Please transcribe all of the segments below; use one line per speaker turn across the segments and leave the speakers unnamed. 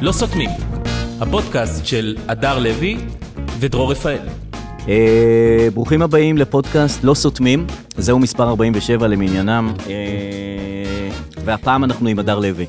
לא סותמים, הפודקאסט של הדר לוי ודרור רפאל.
אה, ברוכים הבאים לפודקאסט לא סותמים, זהו מספר 47 למניינם, אה, והפעם אנחנו עם הדר לוי.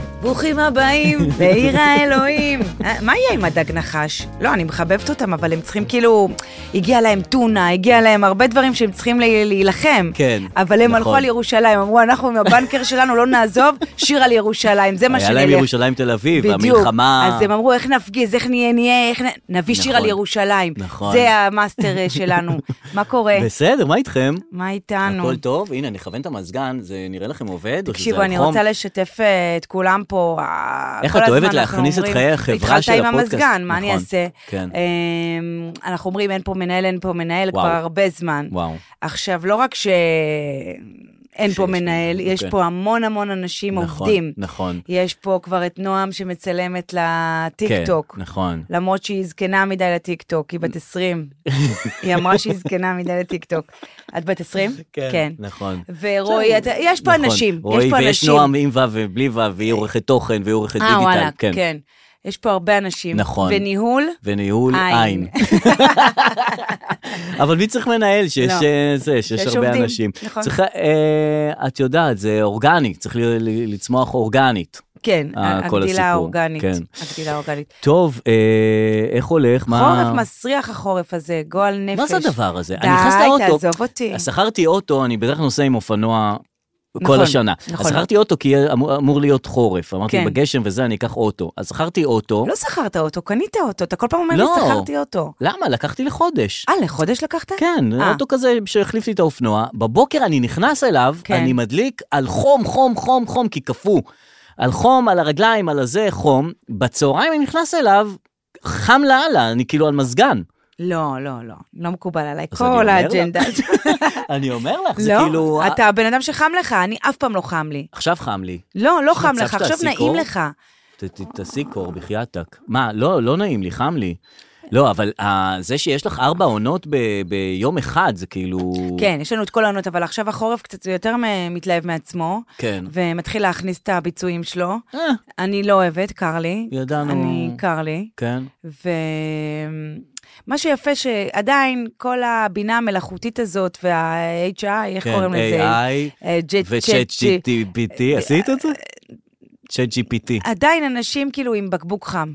ברוכים הבאים, בעיר האלוהים. אה, מה יהיה עם הדג נחש? לא, אני מחבבת אותם, אבל הם צריכים כאילו... הגיע להם טונה, הגיע להם הרבה דברים שהם צריכים לה- להילחם.
כן,
אבל הם הלכו
נכון.
על ירושלים, אמרו, אנחנו עם הבנקר שלנו לא נעזוב, שיר על ירושלים, זה מה
היה
שנלך.
להם ירושלים תל אביב,
בדיוק.
המלחמה...
אז הם אמרו, איך נפגיז, איך נהיה, נהיה, איך נ... נביא שיר
נכון.
על ירושלים.
נכון.
זה המאסטר אה, שלנו. מה קורה?
בסדר, מה איתכם?
מה איתנו?
הכל טוב, הנה, נכוון את המזגן, זה נראה לכם עובד? או שזה
תקשיבו, אני
חום?
רוצה לשתף אה, את כולם פה. אה,
איך
כל
את
הזמן
אוהבת
אנחנו
להכניס את
אומרים,
חיי החברה של
התחלת עם
הפודקאסט",
המזגן, מה אני
נכון,
אעשה?
כן.
אמ, אנחנו אומרים, אין פה מנהל, אין פה מנהל
וואו.
כבר הרבה זמן.
וואו.
עכשיו, לא רק שאין
שיש
פה מנהל,
מנהל,
יש
אוקיי.
פה המון המון אנשים
נכון,
עובדים.
נכון.
יש פה כבר את נועם שמצלמת
כן,
לטיקטוק.
נכון.
למרות שהיא זקנה מדי לטיקטוק, היא בת 20. היא אמרה שהיא זקנה מדי לטיקטוק. את בת 20?
נכון.
ורועי, אתה- יש פה
נכון,
אנשים,
רועי,
יש פה
ויש
אנשים.
נועם עם ו' ובלי ו', והיא עורכת תוכן והיא עורכת
אה,
דיגיטל.
וואלה, כן. כן. יש פה הרבה אנשים.
נכון.
וניהול?
וניהול עין.
עין.
אבל מי צריך מנהל שיש
לא.
אה, זה, שיש
שיש
הרבה
עובדים,
אנשים.
נכון.
צריך, אה, את יודעת, זה אורגני, צריך ל- ל- לצמוח אורגנית.
כן,
אה, כל הסיפור,
הגדילה האורגנית.
כן.
הגדילה האורגנית.
טוב, אה, איך הולך? מה...
חורף מסריח החורף הזה, גועל נפש.
מה זה הדבר הזה? אני נכנס
די,
לאוטו.
תעזוב אותי.
שכרתי אוטו, אני בדרך כלל נוסע עם אופנוע. כל
נכון,
השנה. אז
נכון.
שכרתי אוטו כי יהיה- אמור, אמור להיות חורף. אמרתי,
כן.
בגשם וזה, אני אקח אוטו. אז שכרתי אוטו.
לא שכרת אותו, קנית אותו, אתה כל פעם אומר לי,
לא.
שכרתי אותו.
למה? לקחתי לחודש.
אה, לחודש לקחת?
כן,
אה.
אוטו כזה שהחליף לי את האופנוע. בבוקר אני נכנס אליו,
כן.
אני מדליק על חום, חום, חום, חום, כי קפוא. על חום, על הרגליים, על הזה, חום. בצהריים אני נכנס אליו, חם לאללה, אני כאילו על מזגן.
לא, לא, לא, לא מקובל עליי.
אז אני אומר
כל
לה.
האג'נדה. הזאת.
אני אומר לך, זה כאילו...
לא, אתה הבן אדם שחם לך, אני אף פעם לא חם לי.
עכשיו חם לי.
לא, לא
יש
חם
מצב
לך, עכשיו
שתעשי
נעים
קור?
לך.
ת- ת- תעשי קור, בחייאתק. מה, לא, לא נעים לי, חם לי. לא, אבל אה, זה שיש לך ארבע עונות ב- ביום אחד, זה כאילו...
כן, יש לנו את כל העונות, אבל עכשיו החורף קצת יותר מ- מתלהב מעצמו,
כן.
ומתחיל להכניס את הביצועים שלו.
אה,
אני לא אוהבת, קר לי.
ידענו.
אני, קר לי.
כן.
ומה שיפה שעדיין כל הבינה המלאכותית הזאת וה-HI, איך
כן,
קוראים לזה?
AI
אה, ג'ט-
וצ'אט
צ'אט- צ'אט-
GPT, עשית את זה? צ'אט GPT.
עדיין אנשים כאילו עם בקבוק חם.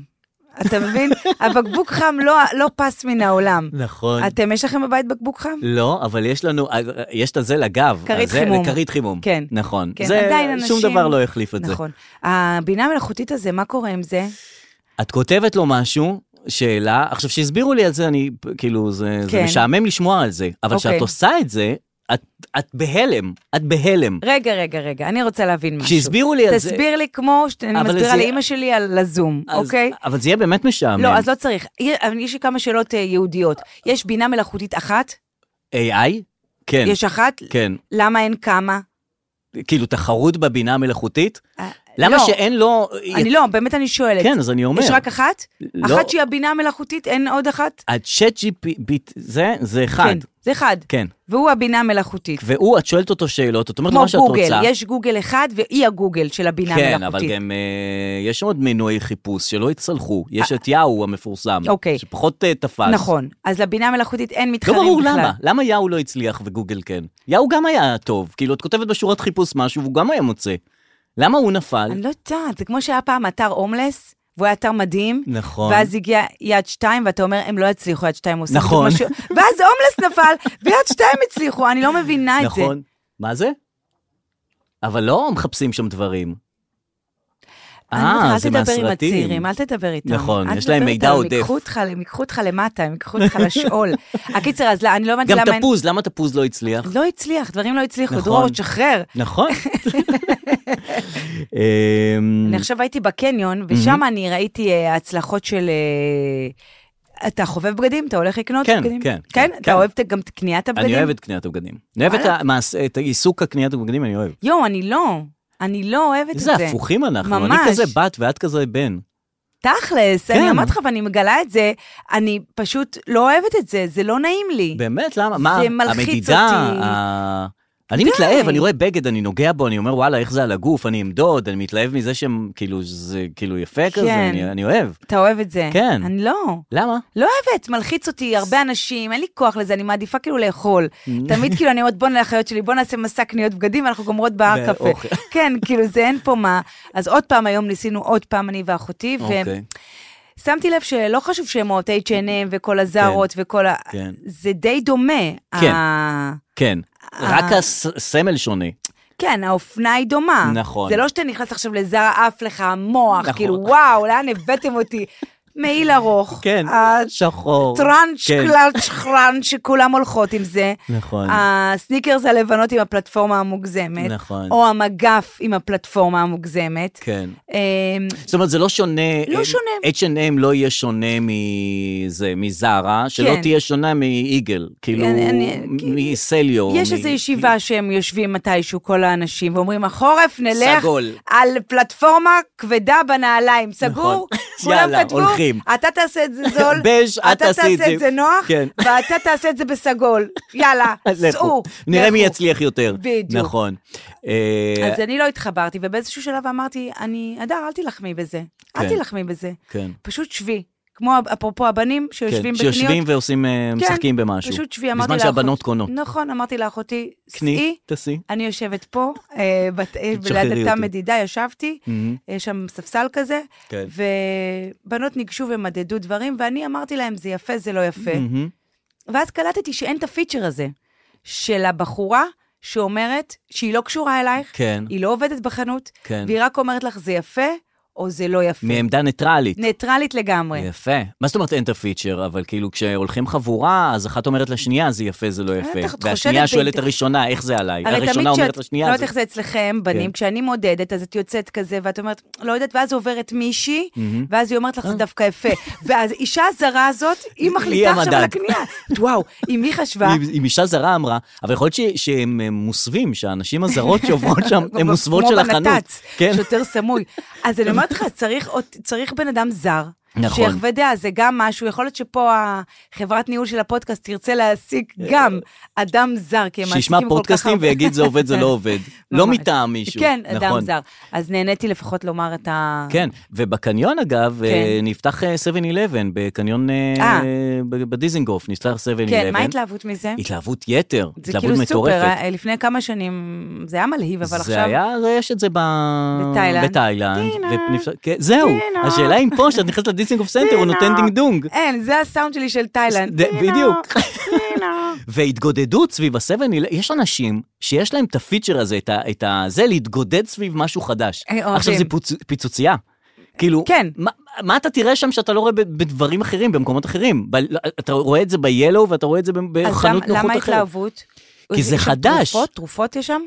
אתה מבין? הבקבוק חם לא, לא פס מן העולם.
נכון.
אתם, יש לכם בבית בקבוק חם?
לא, אבל יש לנו, יש את הזה לגב.
כרית
הזה-
חימום.
כרית חימום.
כן.
נכון.
כן,
זה-
עדיין אנשים...
שום דבר לא החליף את זה.
נכון. הבינה המלאכותית הזה, מה קורה עם זה?
את כותבת לו משהו, שאלה, עכשיו, שהסבירו לי על זה, אני, כאילו, זה זה
כן.
משעמם לשמוע על זה, אבל
אוקיי.
כשאת עושה את זה, את- את בהלם, את בהלם.
רגע, רגע, רגע, אני רוצה להבין משהו.
כשהסבירו לי על זה...
תסביר לי כמו שאני
אבל
מסבירה
זה-
לאימא שלי על הזום,
אז-
אוקיי?
אבל זה יהיה באמת משעמם.
לא, אז לא צריך. אבל יש לי כמה שאלות אה, יהודיות. יש בינה מלאכותית אחת?
AI? כן,
יש אחת?
כן.
למה אין כמה?
כאילו, תחרות בבינה המלאכותית?
אה,
למה
לא.
שאין לו...
אני לא, באמת אני שואלת.
כן, אז אני אומר.
יש רק אחת?
לא.
אחת שהיא הבינה המלאכותית, אין עוד אחת?
הצ'אט GPT, זה, זה אחד.
כן, זה אחד.
כן.
והוא הבינה המלאכותית.
והוא, את שואלת אותו שאלות, את אומרת לו
כמו
מה שאת רוצה.
גוגל, יש גוגל אחד והיא הגוגל של הבינה
כן, אבל
המלאכותית.
גם אה, יש עוד מנועי חיפוש שלא יצלחו. יש את יאו המפורסם,
אה. אוקיי.
שפחות אה, תפס.
נכון, אז לבינה המלאכותית אין
לא
מתחרים בכלל.
ברור למה. למה יאו לא הצליח וגוגל כן? יאו גם היה טוב. כאילו, את כותבת בשורת חיפוש משהו והוא גם היה מוצא. למה הוא נפל?
אני לא יודעת, זה כמו שהיה פעם אתר הומלס, והוא היה אתר מדהים.
נכון.
ואז הגיע יד שתיים, ואתה אומר, הם לא יצליחו, יד שתיים עושים
נכון.
את זה כמו ש- ואז הומלס נפל, ויד שתיים הצליחו, אני לא מבינה את זה.
נכון. מה זה? אבל לא מחפשים שם דברים.
אני אומרת לך,
אה, זה
אל תדבר עם
מהסרטים.
הצעירים, אל תדבר איתם.
נכון,
אל
יש להם
תדבר
מידע
איתם,
עודף.
הם ייקחו אותך, הם ייקחו אותך למטה, הם ייקחו אותך לשאול. הקיצר, אז לא, אני לא הבנתי
גם
למה... אין-
תפוז, למה תפוז לא הצליח?
לא הצליח, דברים לא הצליחו,
נכון.
דרור, תשחרר.
נכון. אמ,
אני
Mm-hmm.
עכשיו הייתי בקניון, ושם אני ראיתי אה, הצלחות של... אה, אתה חובב בגדים? אתה הולך לקנות
כן,
בגדים?
כן,
כן?
כן.
אתה אוהב את- גם את קניית הבגדים?
אני אוהב את קניית הבגדים. אני אוהב את
וואלה.
המעש- את העיסוק הקניית הבגדים, אני אוהב.
יואו, אני לא. אני לא אוהבת את זה.
איזה הפוכים אנחנו, אני
ממש.
כזה בת ואת כזה בן.
תכלס,
כן.
אני אומרת לך, ואני מגלה את זה, אני פשוט לא אוהבת את זה, זה לא נעים לי.
באמת, למה? מה,
זה מלחיץ
המדידה,
אותי.
ה- אני
די.
מתלהב, אני רואה בגד, אני נוגע בו, אני אומר, וואלה, איך זה על הגוף, אני אמדוד, אני מתלהב מזה שהם, כאילו, זה כאילו יפה כזה,
כן.
אני אני אוהב.
אתה אוהב את זה.
כן.
אני לא.
למה?
לא אוהבת, מלחיץ אותי, הרבה אנשים, אין לי כוח לזה, אני מעדיפה כאילו לאכול.
Mm.
תמיד כאילו אני אומרת, בוא נלאחיות שלי, בוא נעשה מסע קניות בגדים, אנחנו גומרות בהר קפה.
ואוכל.
כן, כאילו זה אין פה מה. אז עוד פעם היום ניסינו, עוד פעם אני ואחותי,
אוקיי.
ושמתי לב שלא חשוב שהן אוהבות H&M וכל הזארות וכל ה...
כן.
זה די דומה.
כן.
ה-
כן. רק הסמל שונה.
כן, האופנה היא דומה.
נכון.
זה לא שאתה נכנס עכשיו לזרה, עף לך המוח,
נכון.
כאילו, וואו, לאן הבאתם אותי? מעיל ארוך.
כן,
ה-
שחור.
טראנץ'
כן.
קלאץ' חרן שכולם הולכות עם זה.
נכון.
הסניקרס הלבנות עם הפלטפורמה המוגזמת.
נכון.
או המגף עם הפלטפורמה המוגזמת.
כן.
אמ,
זאת אומרת, זה לא שונה...
לא
אה,
שונה.
H&M לא יהיה שונה מזה, מזרה, שלא
כן.
תהיה שונה מאיגל, כאילו,
אני- אני-
מסליו.
יש
מ-
איזו ישיבה שהם יושבים מתישהו, כל האנשים, ואומרים, החורף נלך
סגול. נכון.
על פלטפורמה כבדה בנעליים. סגור? כולם
יאללה,
כתבו,
הולכים.
אתה תעשה את זה זול,
בז', את
אתה
תעשי את
תעשה
זה."
את זה נוח,
כן.
ואתה תעשה את זה בסגול. יאללה,
לכו.
סעו.
נראה מי
לכו.
יצליח יותר.
בדיוק.
נכון. אה,
אז אני לא התחברתי, ובאיזשהו שלב אמרתי, אני, אדר, אל תילחמי בזה.
כן.
אל תילחמי בזה.
כן.
פשוט שבי. כמו אפרופו הבנים שיושבים
כן, שיושבים
בקניות. כן,
ועושים, אה, משחקים במשהו.
פשוט שבי, אמרתי
בזמן שהבנות קונות.
נכון, אמרתי לאחותי,
קני,
סעי,
תעשי.
אני יושבת פה, אה, בת- אה,
תשחררי
ליד התא
אותי.
מדידה ישבתי,
מהמם.
יש שם ספסל כזה,
כן.
ובנות ניגשו ומדדו דברים, ואני אמרתי להם, זה יפה, זה לא יפה.
מהמם. Mm-hmm.
ואז קלטתי שאין את הפיצ'ר הזה של הבחורה שאומרת שהיא לא קשורה אלייך,
כן,
היא לא עובדת בחנות,
כן.
והיא רק אומרת לך, זה יפה או זה לא יפה.
מעמדה ניטרלית.
ניטרלית לגמרי.
יפה. מה זאת אומרת אין את הפיצ'ר? אבל כאילו כשהולכים חבורה, אז אחת אומרת לשנייה, זה יפה, זה לא יפה.
בטח, את
והשנייה
אה, חושדת
שואלת את
באינט-
הראשונה, איך זה עליי?
הרי
הראשונה
תמיד
אומרת
כשאת, לא
לשנייה,
יודעת
זה...
איך זה אצלכם,
כן.
בנים, כשאני מודדת, אז את יוצאת כזה, ואת אומרת, לא יודעת, ואז עוברת מישהי, ואז היא אומרת לך, זה
אה.
דווקא יפה. ואז אישה הזרה הזאת, היא מחליטה עכשיו
המדד.
על הקנייה. וואו, אם היא חשבה,
אם- אם אישה זרה אמרה, אבל יכול להיות ש- שהם אה, מוסווים, שהנשים הזרות שעוברות שם, הן מוסוות של
כמו
החנות.
בנת"צ,
כן.
שוטר סמוי. אז אני אומרת לך, צריך עוד- צריך בן אדם זר.
נכון.
שיחווה דעה, זה גם משהו, יכול להיות שפה החברת ניהול של הפודקאסט תרצה להעסיק גם אדם זר, כי הם מעסיקים
אה, שישמע
כל כך הרבה. כן,
פודקאסטים ויגיד זה עובד, זה לא עובד. לא
ממש.
מטעם מישהו.
כן, אדם
נכון.
זר. אז נהניתי לפחות לומר את ה...
כן, ובקניון אגב, אה, נפתח אה, 7-11, בקניון אה,
כן. אה.
ב- בדיזינגוף, נפתח 7-11.
כן, מה ההתלהבות מזה?
התלהבות יתר,
זה
התלהבות
כאילו סופר,
מטורפת.
אה, לפני כמה שנים זה היה מלהיב, אבל
זה
עכשיו...
היה, זה- יש את זה ב...
בתאילנד.
בתאילנד.
טינה.
ונפס- כן, זהו,
טינה.
השאלה אם פה, כשאת נכנסת לדיסינגוף סנטר, הוא
טינה.
נותן דינגדונג.
אין, זה הסאונד שלי של תאילנד.
זה-
טינה,
בדיוק.
טינה.
והתגודדות סביב הסבן, יש אנשים שיש להם את הפיצ'ר הזה, את ה- את ה... זה להתגודד סביב משהו חדש.
אה, אוהבים.
עכשיו זה פוצ- פיצוצייה. כאילו,
כן.
מה, מה אתה תראה שם שאתה לא רואה ב- בדברים אחרים, במקומות אחרים? ב, לא, אתה רואה את זה ב-Yellow ואתה רואה את זה ב-
אז
בחנות נוחות אחרת.
למה- למה ההתלהבות?
כי זה
יש שם
חדש.
תרופות? תרופות יש שם?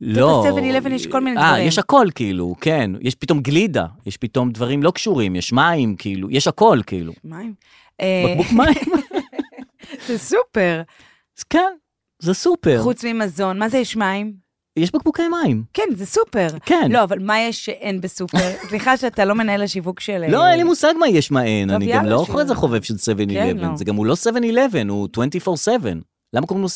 לא.
ב- 7-Eleven יש כל מיני
אה,
דברים.
יש הכל, כאילו, כן. יש פתאום גלידה, יש פתאום דברים לא קשורים, יש מים, כאילו, יש הכל, כאילו.
מים. אה,
בקבוק מים,
זה סופר.
אז כן, זה סופר.
חוץ ממזון, מה זה יש מים?
יש בקבוקי מים.
כן, זה סופר.
כן.
לא, אבל מה יש שאין בסופר? סליחה שאתה לא מנהל השיווק של...
לא, אין לי מושג מה יש מה אין,
טוב,
אני גם
יאללה,
לא
ש-
איזה חובב של 7-11,
כן, לא.
זה גם הוא לא 7-11, הוא 24/7. למה קוראים לו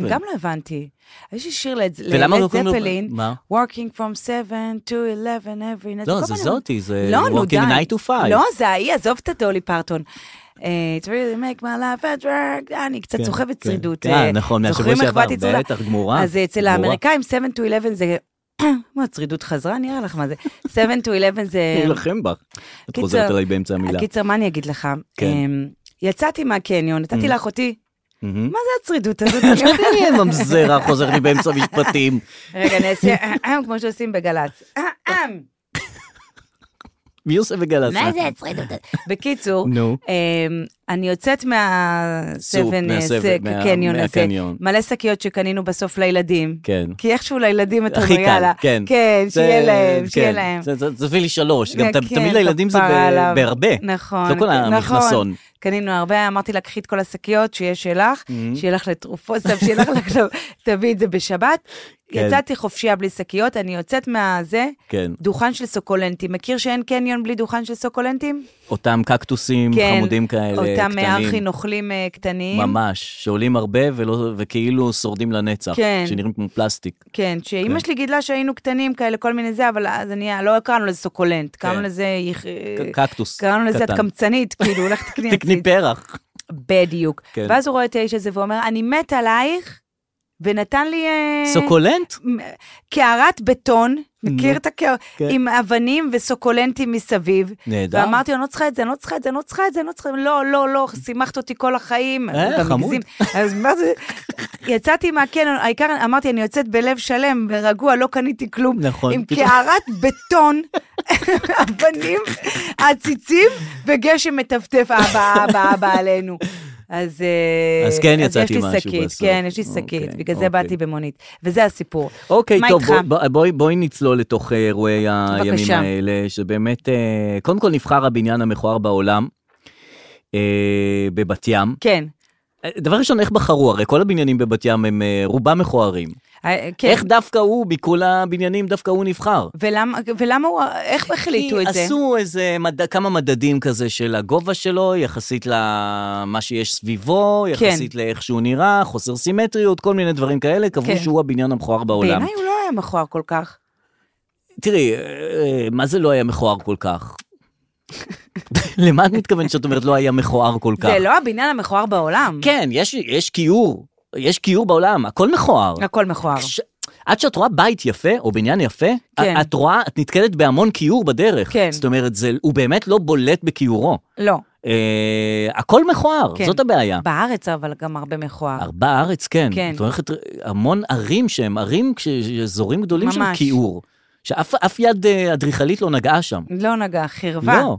7-11?
גם לא הבנתי. יש לי שיר ללד
ולמה לא קוראים לו-
זפלין,
מה?
Working from 7 to 11 every night.
לא,
כל
זה
מיני-
זאתי, זה
לא, נו, די.
Working 9 to 5.
לא, זה ההיא, עזוב את הדולי פרטון. אה, It really make my life at work, אה, אני קצת
כן,
סוחבת
כן.
צרידות.
אה, נכון, מהשבוע
זוכרים איך
שעבר,
באתי צרודה?
בטח, גמורה,
אז אה, אצל
גמורה.
האמריקאים 7 to 11 זה... מה, צרידות חזרה? נראה לך מה זה. 7 to 11 זה...
אני אלחם בך. את
קיצר, אה,
חוזרת עליי באמצע המילה.
קיצר, מה אני אגיד לך?
כן. Mm.
אמ, יצאתי מהקניון, נתתי לאחותי,
מהמם.
מה זה הצרידות הזאת? אני אומרת,
אני ממזרה, חוזר לי באמצע משפטים.
רגע, אני אעשה אה-אה, כמו שעושים בגל"צ. אה-אה.
מי עושה בגל"צ?
מה זה הצרידות הזאת? בקיצור,
נו.
אמ, אני יוצאת
סופ,
מהסבן,
מהסבן, מה-
קניון הזה,
מהקניון.
מלא שקיות שקנינו בסוף לילדים.
כן.
כי איכשהו לילדים אתה
הכי
אומר,
קל,
יאללה.
כן.
כן,
זה-
שיהיה להם, שיהיה
כן.
להם.
זה- זה- תביא לי שלוש. גם ת-
כן,
תמיד לילדים זה ב-
כפרה עליו.
בהרבה.
נכון.
לא כל
כן,
המכנסון.
נכון. קנינו הרבה, אמרתי לה, קחי את כל השקיות שיש שלך,
Mm-hmm.
שיהיה לך לתרופות, סתם, שיהיה לך, עכשיו, תביאי את זה בשבת.
כן.
יצאתי חופשייה בלי שקיות, אני יוצאת מהזה,
כן.
דוכן של סוקולנטים. מכיר שאין קניון בלי דוכן של סוקולנטים?
אותם קקטוסים
נכון. כן.
חמודים כאלה.
איתם אה,
קטנים.
ארכי נוכלים אה, קטנים.
ממש, שעולים הרבה ולא, וכאילו שורדים לנצח.
כן.
שנראים כמו פלסטיק.
כן, שאימא שלי גידלה שהיינו קטנים כאלה, כל מיני זה, אבל אז אני, לא קראנו לזה סוקולנט,
כן.
קראנו לזה... יח- אה,
ק- קקטוס.
קראנו לזה את
קטן.
קמצנית, כאילו, לך תקני
תקני
עציץ.
פרח.
בדיוק.
כן.
ואז הוא רואה את האיש הזה ואומר, אני מת עלייך, ונתן לי... אה,
סוקולנט?
מ- קערת בטון, מכיר את הקער...
כן.
עם אבנים וסוקולנטים מסביב.
נהדר.
ואמרתי לו, אני לא צריכה את זה, אני לא צריכה את זה, אני לא צריכה את זה, אני לא צריכה, לא, לא, לא, שימחת אותי כל החיים.
אה,
אתה
חמוד.
מגזים. אז מה זה, יצאתי מהקניון, העיקר, אמרתי, אני יוצאת בלב שלם, רגוע, לא קניתי כלום.
נכון,
עם
פתאום.
קערת בטון, אבנים, עציצים, וגשם מטפטף, אבא, אבא, אבא עלינו. אז, אה,
אז כן
יש
יצאתי
לי
משהו
שקית,
בסוף.
כן, יש לי
אוקיי,
שקית, בגלל
אוקיי.
זה באתי במונית. וזה הסיפור.
אוקיי,
מה
טוב,
איתך?
בוא- בוא- בואי בואי נצלול לתוך אה, אירועי הימים
בבקשה.
האלה, שבאמת, אה, קודם כל נבחר הבניין המכוער בעולם, אה, בבת ים.
כן.
אה, דבר ראשון, איך בחרו? הרי כל הבניינים בבת ים הם אה, רובם מכוערים.
אה, כן.
איך דווקא הוא, מכל הבניינים, דווקא הוא נבחר?
ולמה, ולמה הוא, איך החליטו
כי
את זה?
עשו איזה מד... כמה מדדים כזה של הגובה שלו, יחסית למה שיש סביבו,
כן.
יחסית לאיך שהוא נראה, חוסר סימטריות, כל מיני דברים כאלה, קבעו
כן.
שהוא הבניין המכוער בעולם.
בעיניי הוא לא היה מכוער כל כך.
תראי, אה, אה, מה זה לא היה מכוער כל כך? למה את מתכוונת שאת אומרת לא היה מכוער כל כך?
זה לא הבניין המכוער בעולם.
כן, יש, יש כיעור, יש כיעור בעולם, הכל מכוער.
הכל מכוער.
כש- עד שאת רואה בית יפה, או בניין יפה,
כן.
את רואה, את נתקלת בהמון כיעור בדרך.
כן.
זאת אומרת, זה, הוא באמת לא בולט בכיעורו.
לא.
אה, הכל מכוער,
כן.
זאת הבעיה.
בארץ אבל גם הרבה מכוער.
הר- בארץ, כן.
כן.
את הולכת המון ערים שהם ערים, כש- אזורים גדולים של
ממש.
כיעור. שאף אף יד אה, אדריכלית לא נגעה שם.
לא נגע, חרבה.
לא.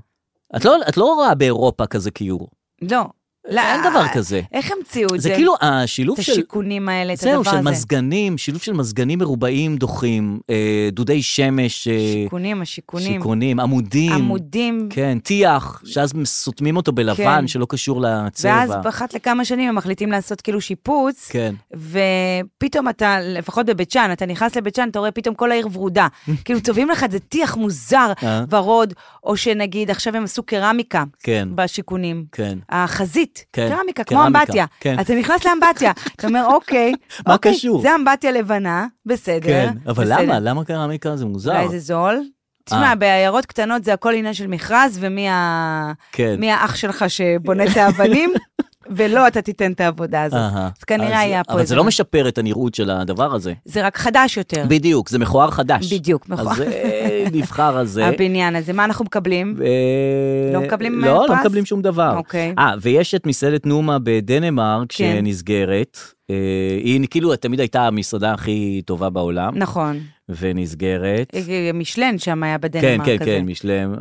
את לא, את לא רואה באירופה כזה כיעור.
לא. לא.
אין דבר כזה.
איך המציאו את זה?
זה כאילו
את
השילוב של...
השיכונים האלה, את
זהו,
הדבר
של
הזה.
מזגנים, שילוב של מזגנים מרובעים דוחים, אה, דודי שמש, אה,
שיכונים, השיכונים.
שיכונים, עמודים,
עמודים.
כן, טיח, שאז סותמים אותו בלבן,
כן.
שלא קשור לצבע.
ואז אחת לכמה שנים הם מחליטים לעשות כאילו שיפוץ,
כן.
ופתאום אתה, לפחות בבית שאן, אתה נכנס לבית שאן, אתה רואה פתאום כל העיר ורודה. כאילו צובעים לך את זה טיח מוזר,
אה.
ורוד, או שנגיד, עכשיו הם עשו קרמיקה
כן.
בשיכונים.
כן.
החזית,
כן,
קרמיקה, כמו
קרמיקה,
אמבטיה.
כן.
אתה נכנס לאמבטיה, אתה אומר, אוקיי,
מה
אוקיי,
קשור?"
זה אמבטיה לבנה, בסדר.
כן, אבל
בסדר.
למה? למה קרמיקה זה מוזר?
אולי זה זול. תשמע,
אה.
בעיירות קטנות זה הכל עניין של מכרז, ומי ה...
כן.
מי האח שלך שבונה את האבנים, ולא אתה תיתן את העבודה הזאת.
אהה.
אז כנראה
אז-
היה פה
אבל
איזה...
זה לא משפר את הנראות של הדבר הזה.
זה רק חדש יותר,
בדיוק, זה מכוער חדש.
בדיוק, מכוער.
אז אה, נבחר הזה.
הבניין הזה. מה אנחנו מקבלים?
ו-
לא מקבלים, אה,
לא, לא
פרס?
מקבלים שום דבר.
אוקיי.
אה, ויש את מסעדת נומה בדנמרק,
כן.
שנסגרת. אה, היא כאילו תמיד הייתה המסעדה הכי טובה בעולם,
נכון. אה,
ונסגרת.
משלן שם היה
כן,
בדנמרק
כן,
כזה.
כן, משלם. אה,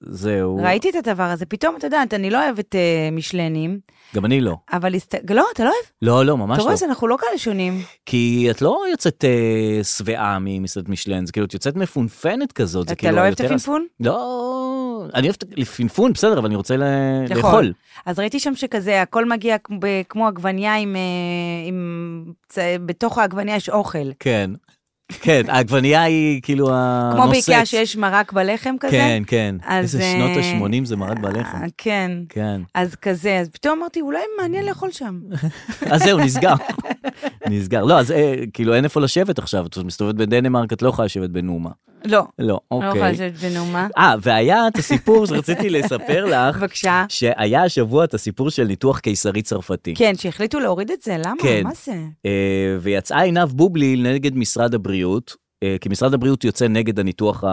זהו.
ראיתי את הדבר הזה, פתאום, את יודעת, אני לא אוהבת אה, משלנים,
גם אני לא.
אבל... הסת- לא, אתה לא אוהב?
לא, לא, ממש
אתה
לא.
רואה, אז אנחנו לא כאלה שונים.
כי את לא יוצאת אה, שבעה ממסעדת משלן, זה כאילו, את יוצאת מפונפנת כזאת. זה
אתה
כאילו
לא אוהב את
היותר-
הפינפון?
לא, אני אוהב את הפינפון, בסדר, אבל אני רוצה ל-
יכול.
כן, לאכול.
נכון. אז ראיתי שם שכזה, הכל מגיע כמו- ב- כמו עגבנייה עם... אה, עם... צ- בתוך העגבנייה יש אוכל.
כן. כן, העגבנייה היא כאילו הנושאת.
כמו באיקאה שיש מרק בלחם כזה.
כן, כן.
אז,
איזה שנות
אה,
ה-80 זה מרד בלחם.
אה, כן.
כן.
אז כזה, אז פתאום אמרתי, אולי מעניין לאכול שם.
אז זהו, נסגר. נסגר. לא, אז אה, כאילו אין איפה לשבת עכשיו. את מסתובבת בדנמרק, את לא יכולה לשבת בנומה.
לא,
לא,
אני לא יכולה
אוקיי.
לשבת בנאומה.
אה, והיה את הסיפור שרציתי לספר לך,
בבקשה.
שהיה השבוע את הסיפור של ניתוח קיסרי צרפתי.
כן, שהחליטו להוריד את זה, למה?
כן.
מה זה?
אה, ויצאה עינב בובלי נגד משרד הבריאות, אה, כי משרד הבריאות יוצא נגד הניתוח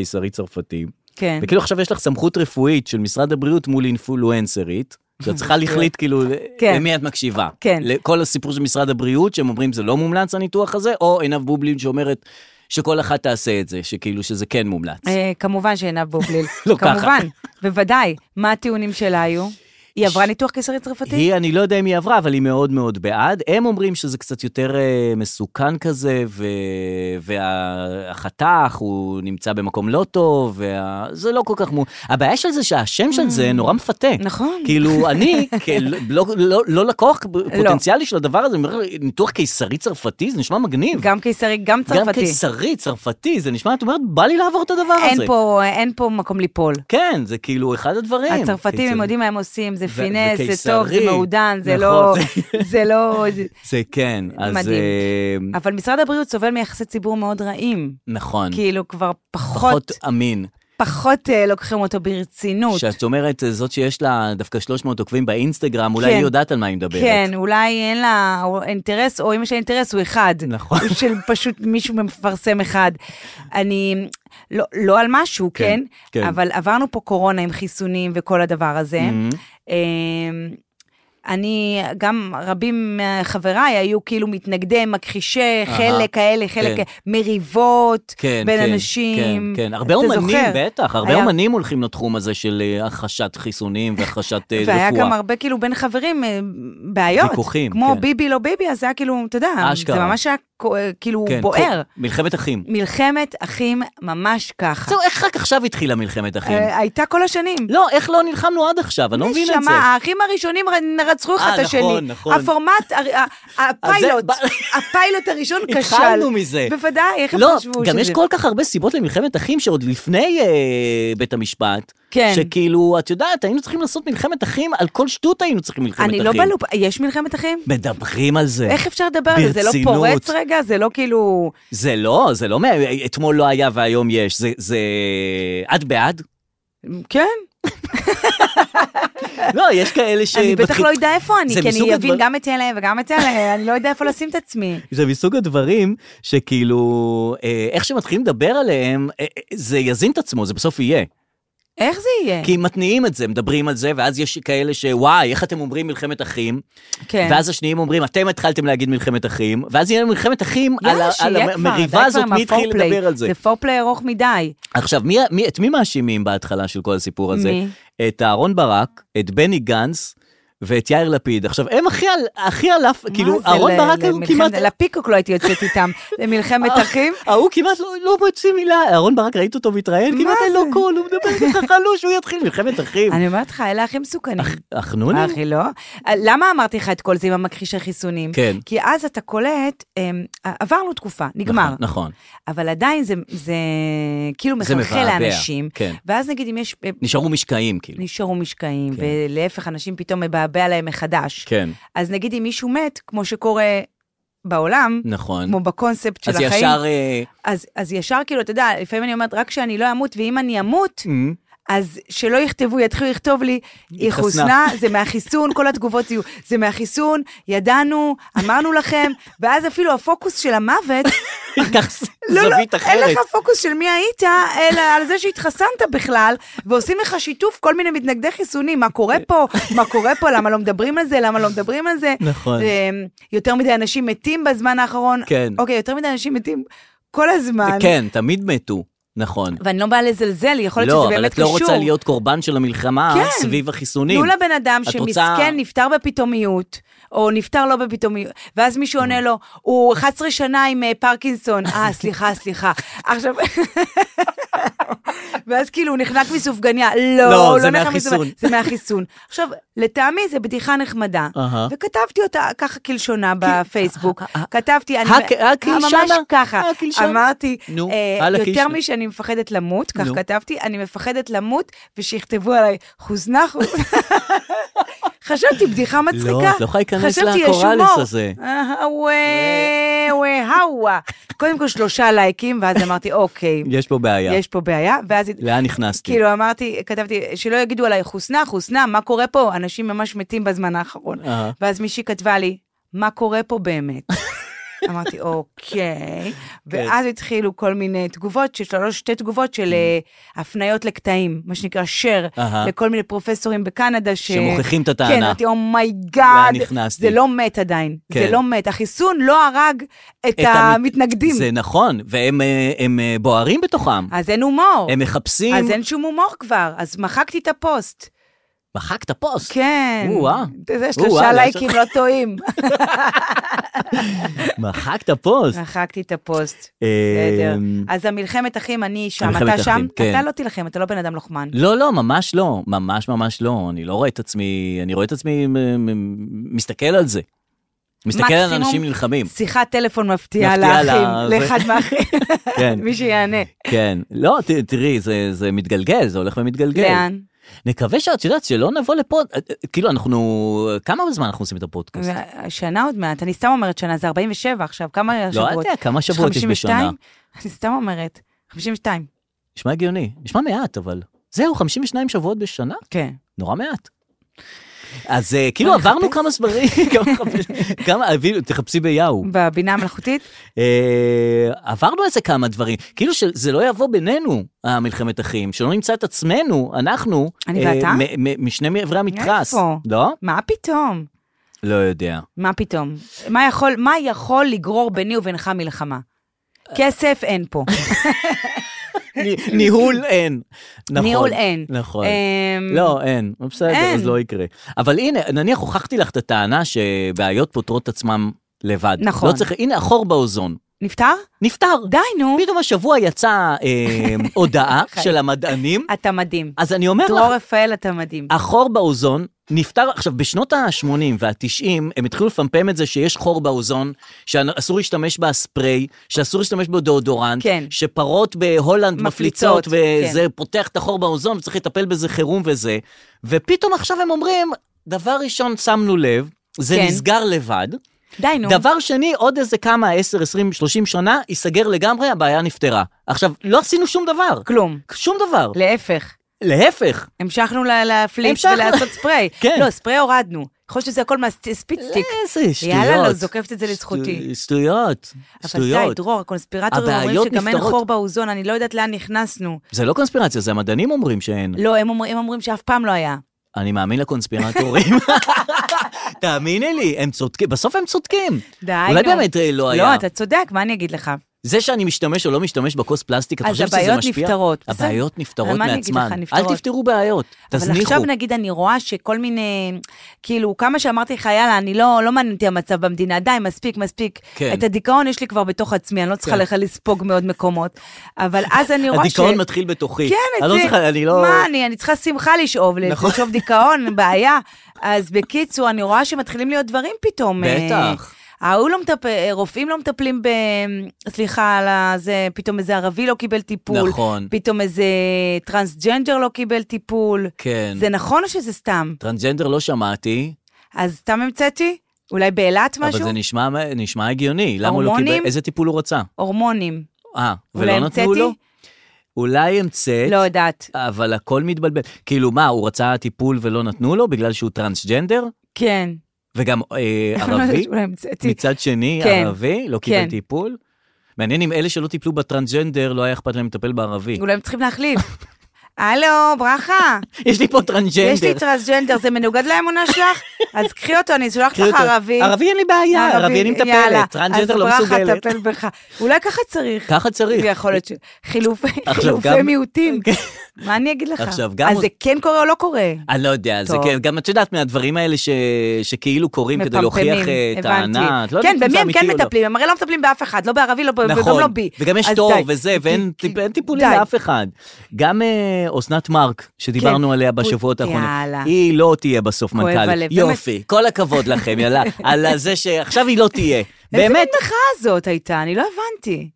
הקיסרי-צרפתי.
כן.
וכאילו עכשיו יש לך סמכות רפואית של משרד הבריאות מול אינפלואנסרית, שאת צריכה להחליט כאילו
כן.
למי את מקשיבה.
כן.
לכל הסיפור של משרד הבריאות, שהם אומרים זה לא מומלץ הניתוח הזה, או עינב בובלין שאומרת שכל אחת תעשה את זה, שכאילו שזה כן מומלץ.
אה, כמובן שעינב בובליל.
לא ככה.
כמובן, בוודאי. מה הטיעונים שלה היו? היא עברה ניתוח קיסרי צרפתי?
היא, אני לא יודע אם היא עברה, אבל היא מאוד מאוד בעד. הם אומרים שזה קצת יותר אה, מסוכן כזה, ו... והחתך, הוא נמצא במקום לא טוב, וה... זה לא כל כך מו... הבעיה של זה שהשם של זה נורא מפתה.
Mm. נכון.
כאילו, אני, כל... לא, לא, לא לקוח פוטנציאלי של הדבר הזה, אני אומר, ניתוח קיסרי צרפתי, זה נשמע מגניב.
גם קיסרי, גם
גם
צרפתי.
קיסרי, צרפתי, זה נשמע, את אומרת, בא לי לעבור את הדבר הזה.
אין פה- אין פה מקום ליפול.
כן, זה כאילו אחד הדברים. כן,
הצרפתים,
קיסרי.
הם יודעים מה הם עושים, זה מפינס, זה טוב, זה
וקיסרי.
מעודן, זה
נכון,
לא...
זה-
זה לא...
זה כן, אז...
מדהים.
אה,
אבל משרד הבריאות סובל מיחסי ציבור מאוד רעים.
נכון.
כאילו, כבר פחות,
פחות אמין.
פחות אה, לוקחים אותו ברצינות.
שאת אומרת, אה, זאת שיש לה דווקא 300 עוקבים באינסטגרם, אולי
כן.
היא יודעת על מה היא מדברת.
כן, אולי אין לה או- אינטרס, או אם יש לה אינטרס, הוא אחד.
נכון.
הוא של פשוט מישהו מפרסם אחד. אני, לא, לא על משהו,
כן,
כן?
כן.
אבל עברנו פה קורונה עם חיסונים וכל הדבר הזה.
מהמם.
אמ, אני, גם רבים מחבריי היו כאילו מתנגדי, מכחישי,
אהה,
חלק כאלה, חלק
כן.
כאלה, מריבות
כן,
בין
כן,
אנשים.
כן, כן, הרבה
אתה
אומנים,
זוכר?
בטח, הרבה
היה-
אומנים הולכים לתחום הזה של אה, הכחשת חיסונים והכחשת אה, רפואה.
והיה גם הרבה כאילו בין חברים אה, בעיות.
ויכוחים,
כמו
כן.
ביבי לא ביבי, אז זה היה כאילו, אתה יודע,
אשכרה.
זה ממש היה כו- אה, כאילו
כן,
בוער. אה.
כל- מלחמת אחים.
מלחמת אחים ממש ככה.
זהו, איך רק עכשיו התחילה מלחמת אחים?
אה, הייתה כל השנים.
לא, איך לא נלחמנו עד עכשיו? אני לא מבין את זה.
נשמה, האחים הראשונים ר- רצחו אחד
אה,
את השני.
נכון, נכון.
הפורמט, הר- ה- הפיילוט,
אז
הפיילוט הראשון כשל.
התחלנו מזה.
בוודאי, איך הם
לא,
חשבו
גם
שזה-
יש כל כך הרבה סיבות למלחמת אחים שעוד לפני אה, בית המשפט.
כן.
שכאילו, את יודעת, היינו צריכים לעשות מלחמת אחים, על כל שטות היינו צריכים מלחמת
אני
אחים.
לא בלופ, יש מלחמת אחים?
מדברים על זה.
איך אפשר לדבר על זה? זה לא
ברצינות.
פורץ רגע? זה לא כאילו...
זה לא, זה לא, מה- אתמול לא היה והיום יש. זה, זה... את בעד?
כן,
לא, יש כאלה ש...
אני בטח
בתחיל-
לא יודע איפה אני,
זה
כי
מסוג
אני אבין
הדבר-
גם את אלה וגם את אלה, אני לא יודע איפה לשים את עצמי.
זה מסוג הדברים שכאילו, אה, איך שמתחילים לדבר עליהם, אה, אה, זה יזין את עצמו, זה בסוף יהיה.
איך זה יהיה?
כי מתניעים את זה, מדברים על זה, ואז יש כאלה שוואי, איך אתם אומרים מלחמת אחים?
כן.
ואז השניים אומרים, אתם התחלתם להגיד מלחמת אחים, ואז יהיה לנו מלחמת אחים על, ה-
יאללה,
על
שיהיה כבר, די
המריבה
כבר
הזאת,
עם
מי התחיל
הפורפליי.
לדבר על זה.
זה פורפליי ארוך מדי.
עכשיו, מי, מי, את מי מאשימים בהתחלה של כל הסיפור הזה?
מי?
את אהרון ברק, את בני גנץ ואת יאיר לפיד. עכשיו, הם הכי, על- הכי על אף, כאילו,
מה זה,
אהרון
ל-
ברק הוא
למלחמת-
כמעט... אה.
לפיקוק לא הייתי יוצאת איתם, למלחמת אחים.
ההוא כמעט לא, לא מוציא מילה, אהרון ברק, ראית אותו מתראיין?
מה
כמעט אין לו
זה?
קול, הוא מדבר ככה חלוש, הוא יתחיל מלחמת אחים.
אני אומרת לך, אלה הכי מסוכנים.
החנונים?
אחי, לא. למה אמרתי לך את כל זה עם המכחיש החיסונים?
כן.
כי אז אתה קולט, אמ, עברנו תקופה, נגמר.
נכון, נכון,
אבל עדיין זה- זה כאילו
זה
מחלחל
מבעבע,
לאנשים.
כן.
ואז נגיד אם יש, אה,
נשארו משקעים, כאילו.
נשארו משקעים,
כן.
ולהפך, אנשים פתאום מבעבע להם מחדש.
כן,
אז נגיד אם מישהו מת, כמו שקורה בעולם,
נכון.
כמו בקונספט של
אז
החיים,
ישר... אה,
אז, אז ישר כאילו, אתה יודע, לפעמים אני אומרת, רק שאני לא אמות, ואם אני אמות,
אה,
אז שלא יכתבו, יתחילו לכתוב לי, היא
התחסנה."
חוסנה, זה מהחיסון, כל התגובות יהיו, זה מהחיסון, ידענו, אמרנו לכם, ואז אפילו הפוקוס של המוות,
ייקח
לא, לא,
זווית
אין
אחרת.
לך פוקוס של מי היית, אלא על זה שהתחסנת בכלל, ועושים לך שיתוף כל מיני מתנגדי חיסונים, מה קורה פה, מה קורה פה, למה לא מדברים על זה, למה לא מדברים על זה.
נכון.
אמ, יותר מדי אנשים מתים בזמן האחרון.
כן.
אוקיי, יותר מדי אנשים מתים כל הזמן.
כן, תמיד מתו, נכון.
ואני לא באה לזלזל, יכול להיות
לא,
שזה
אבל
באמת
את
קשור.
לא רוצה להיות קורבן של המלחמה
כן.
סביב החיסונים.
תנו לבן אדם
את
שמסכן
רוצה-
נפטר בפתאומיות, או נפטר לא בפתאומיות, ואז מישהו עונה לו, הוא 11 שנה עם אה, פרקינסון, אה, סליחה, סליחה. עכשיו... ואז כאילו הוא נחנק מסופגניה, לא,
לא,
הוא
זה
לא נחנק
מהחיסון.
מסופגניה, זה מהחיסון. עכשיו, לטעמי זה בדיחה נחמדה,
אהה. אה,
וכתבתי אותה ככה כלשונה בפייסבוק, כתבתי, אני
הק- הקלשנה?
ממש ככה,
הקלשנה?
אמרתי,
נו,
אה,
הלאה,
יותר
קישנה.
מ שאני מפחדת למות, כך
נו.
כתבתי, אני מפחדת למות, ושיכתבו עליי, חוזנה חוזנה. חשבתי בדיחה מצחיקה.
לא, את לא יכולה להיכנס
חשבתי, יש
לקוראלס
הומור.
הזה.
אה, וואו, וואו. קודם כל שלושה לייקים, ואז אמרתי, אוקיי,
יש פה בעיה.
יש פה בעיה, ואז...
לאן נכנסתי?
כאילו אמרתי, כתבתי, שלא יגידו עליי חוסנה, חוסנה, מה קורה פה? אנשים ממש מתים בזמן האחרון.
אהה.
ואז מישהי כתבה לי, מה קורה פה באמת? אמרתי,
כן.
אוקיי. ואז התחילו כל מיני תגובות, של שלוש, שתי תגובות של אה, הפניות לקטעים, מה שנקרא share,
Mm. אהה.
לכל מיני פרופסורים בקנדה ש...
שמוכיחים את הטענה.
כן, אמרתי,
לאן
אומייגאד,
נכנסתי?"
זה לא מת עדיין, זה
כן.
לא מת. החיסון לא הרג את
את המת-
המתנגדים.
זה נכון, והם אה, הם, אה, בוערים בתוכם.
אז אין הומור.
הם מחפשים...
לא. אז אין שום הומור כבר, אז מחקתי את הפוסט.
מחקת פוסט.
כן.
או-אה.
זה
או-אה,
שלושה לייקים לא טועים.
מחקת פוסט.
מחקתי את הפוסט.
אה,
בסדר. אז המלחמת אחים, אני שם,
מלחמת
אתה
אחים,
שם?
כן.
אתה לא תילחם, אתה לא בן אדם לוחמן.
לא, לא, ממש לא. ממש ממש לא. אני לא רואה את עצמי... אני רואה את עצמי... מ- מ- מסתכל על זה. מסתכל על
מקסימום-
אנשים נלחמים.
שיחת טלפון מפתיעה
מפתיעה
לאחים,
ל-
לאחד מהאחים,
כן,
מי שיענה.
כן. לא, ת- תראי, זה- זה מתגלגל, זה הולך ומתגלגל.
לאן?
נקווה שאת יודעת שלא נבוא לפה, אה, אה, כאילו אנחנו, כמה זמן אנחנו עושים את הפודקאסט?
שנה עוד מעט, אני סתם אומרת שנה, זה 47 עכשיו, כמה
לא,
שבועות?
אל תדע, כמה שבועות יש בשנה.
52? אני סתם אומרת, 52,
נשמע הגיוני, נשמע מעט, אבל. זהו, 52 שבועות בשנה?
כן.
נורא מעט. אז אה, כאילו
נחפש?
עברנו כמה סברים, כמה חפש- כמה, אפילו, תחפשי ביהו.
בבינה המלאכותית?
אה, עברנו איזה כמה דברים, כאילו שזה לא יבוא בינינו, המלחמת אחים, שלא נמצא את עצמנו, אנחנו,
אני
אה,
ואתה?
מ- מ- משני מעברי המתרס.
איפה?
לא?
מה פתאום?
לא יודע.
מה פתאום? מה יכול, מה יכול לגרור ביני ובינך מלחמה? כסף אין פה,
נכון. נ- ניהול אין. נכון.
ניהול אין.
נכון.
אמ,
לא, אין, בסדר,
אין.
אז לא יקרה. אבל הנה, נניח הוכחתי לך את הטענה שבעיות פותרות עצמם לבד.
נכון.
לא צריך, הנה החור באוזון.
נפטר?
נפתר.
די, נו.
פתאום השבוע יצאה אה, הודעה
חיים.
של המדענים,
אתה מדהים.
אז אני אומר לך,
דרור רפאל, אתה מדהים.
החור באוזון נפתר, עכשיו, בשנות ה-80 וה-90, הם התחילו לפמפם את זה שיש חור באוזון, שאסור להשתמש בספרי, שאסור להשתמש בדאודורנט,
כן.
שפרות בהולנד מפליצות,
מפליצות, כן.
וזה פותח את החור באוזון, וצריך לטפל בזה חירום וזה. ופתאום עכשיו הם אומרים, דבר ראשון, שמנו לב, זה
כן.
נסגר לבד.
די, נו.
דבר שני, עוד איזה כמה, 10, 20, 30 שנה, ייסגר לגמרי, הבעיה נפתרה. עכשיו, לא עשינו שום דבר.
כלום.
שום דבר.
להפך.
להפך.
המשכנו ל- להפליץ
המשכנו.
ולעשות ספרי.
כן. אה,
לא, ספרי הורדנו. יכול להיות שזה הכל מהספיצטיק.
איזה שטויות.
יאללה, לא, זוקפת את זה לזכותי.
שטו- שטויות,
אבל די,
שטויות.
דרור, הקונספירטורים אומרים
הבעיות
שגם אין
נפתרות.
חור באוזון, אני לא יודעת לאן נכנסנו.
זה לא קונספירציה, זה המדענים אומרים שאין.
לא, הם אומר- הם אומרים שאף פעם לא היה.
אני מאמין לקונספירטורים. תאמיני לי, הם צודקים, בסוף הם צודקים.
די,
אולי
נו.
באמת אה, לא היה.
לא, אתה צודק, מה אני אגיד לך?
זה שאני משתמש או לא משתמש בכוס פלסטיק, את
אז
חושבת שזה משפיע?
הבעיות נפתרות. בסדר.
הבעיות נפתרות
מה אני אגיד
מעצמן.
לך,
אל
נפתרות.
תפתרו בעיות,
אבל
תזניחו.
עכשיו נגיד אני רואה שכל מיני, כאילו, כמה שאמרתי לך, יאללה, אני לא, לא מעניין אותי המצב במדינה, די, מספיק, מספיק.
כן.
את הדיכאון יש לי כבר בתוך עצמי, אני לא צריכה
כן.
לך לספוג מעוד מקומות. אבל אז אני רואה ש...
הדיכאון מתחיל בתוכי.
כן,
אני
את
לא
זה.
צריכה, אני לא...
מה, אני, אני צריכה שמחה לשאוב,
נכון.
לשאוב דיכאון, בעיה. אז בקיצור, אני רואה שמתחילים להיות דברים פתאום. אה,
בטח.
ההוא לא מטפל, רופאים לא מטפלים ב... סליחה על ה... זה, פתאום איזה ערבי לא קיבל טיפול.
נכון.
פתאום איזה טרנסג'נדר לא קיבל טיפול.
כן.
זה נכון או שזה סתם?
טרנסג'נדר לא שמעתי,
אז סתם המצאתי? אולי באילת משהו?
אבל זה נשמע- נשמע הגיוני. למה הוא לא קיבל?
הורמונים?
איזה טיפול הוא רצה?
הורמונים.
אה,
אולי
ולא נתנו
המצאתי?
לו? אולי המצאת,
לא יודעת.
אבל הכל מתבלבל. כאילו, מה, הוא רצה טיפול ולא נתנו לו בגלל שהוא טרנסג'נדר?
כן.
וגם אה, ערבי?
אולי המצאתי.
מצד שני,
כן.
ערבי לא קיבל
כן.
טיפול? מעניין אם אלה שלא טיפלו בטרנסג'נדר, לא היה אכפת להם לטפל בערבי.
אולי הם צריכים להחליף. הלו, ברכה.
יש לי פה
יש לי
טרנסג'נדר.
טרנסג'נדר, זה מנוגד לאמונה שלך? אז קחי אותו, אני אשלח
קחי
לך
אותו.
ערבי.
ערבי אין לי בעיה, ערבי אני
יאללה.
מטפלת, טרנסג'נדר לא
אז ברכה,
מסוגלת.
טפל בך. אולי ככה צריך.
ככה צריך.
יכול להיות ש... חילופי
עכשיו
חילופי
גם- כן.
מיעוטים. מה אני אגיד לך?
עכשיו גם-
אז זה כן קורה או לא קורה?
אני לא יודע, זה
טוב.
כן, גם את יודעת מהדברים האלה ש- שכאילו קורים כדי
מפמפמים,
להוכיח אה,
הבנתי.
טענה, את לא יודעת
כן,
אם
במי
זה
הם
אמיתי
כן
או לא. נכון.
מטפלים? הם הרי לא מטפלים באף אחד, לא בערבי, לא ב- וגם לא בי.
וגם יש
אז
תור
די.
וזה, ואין טיפ- אין טיפולים
די.
לאף אחד. גם אה, אסנת מארק, שדיברנו
כן.
עליה בשבועות האחרונים,
יאללה.
היא לא תהיה בסוף
כואב
מנכ"לית.
הלב,
יופי, כל הכבוד לכם, יאללה, על זה שעכשיו היא לא תהיה.
איזה מין
באמת,
מחאה זאת הייתה? אני לא הבנתי.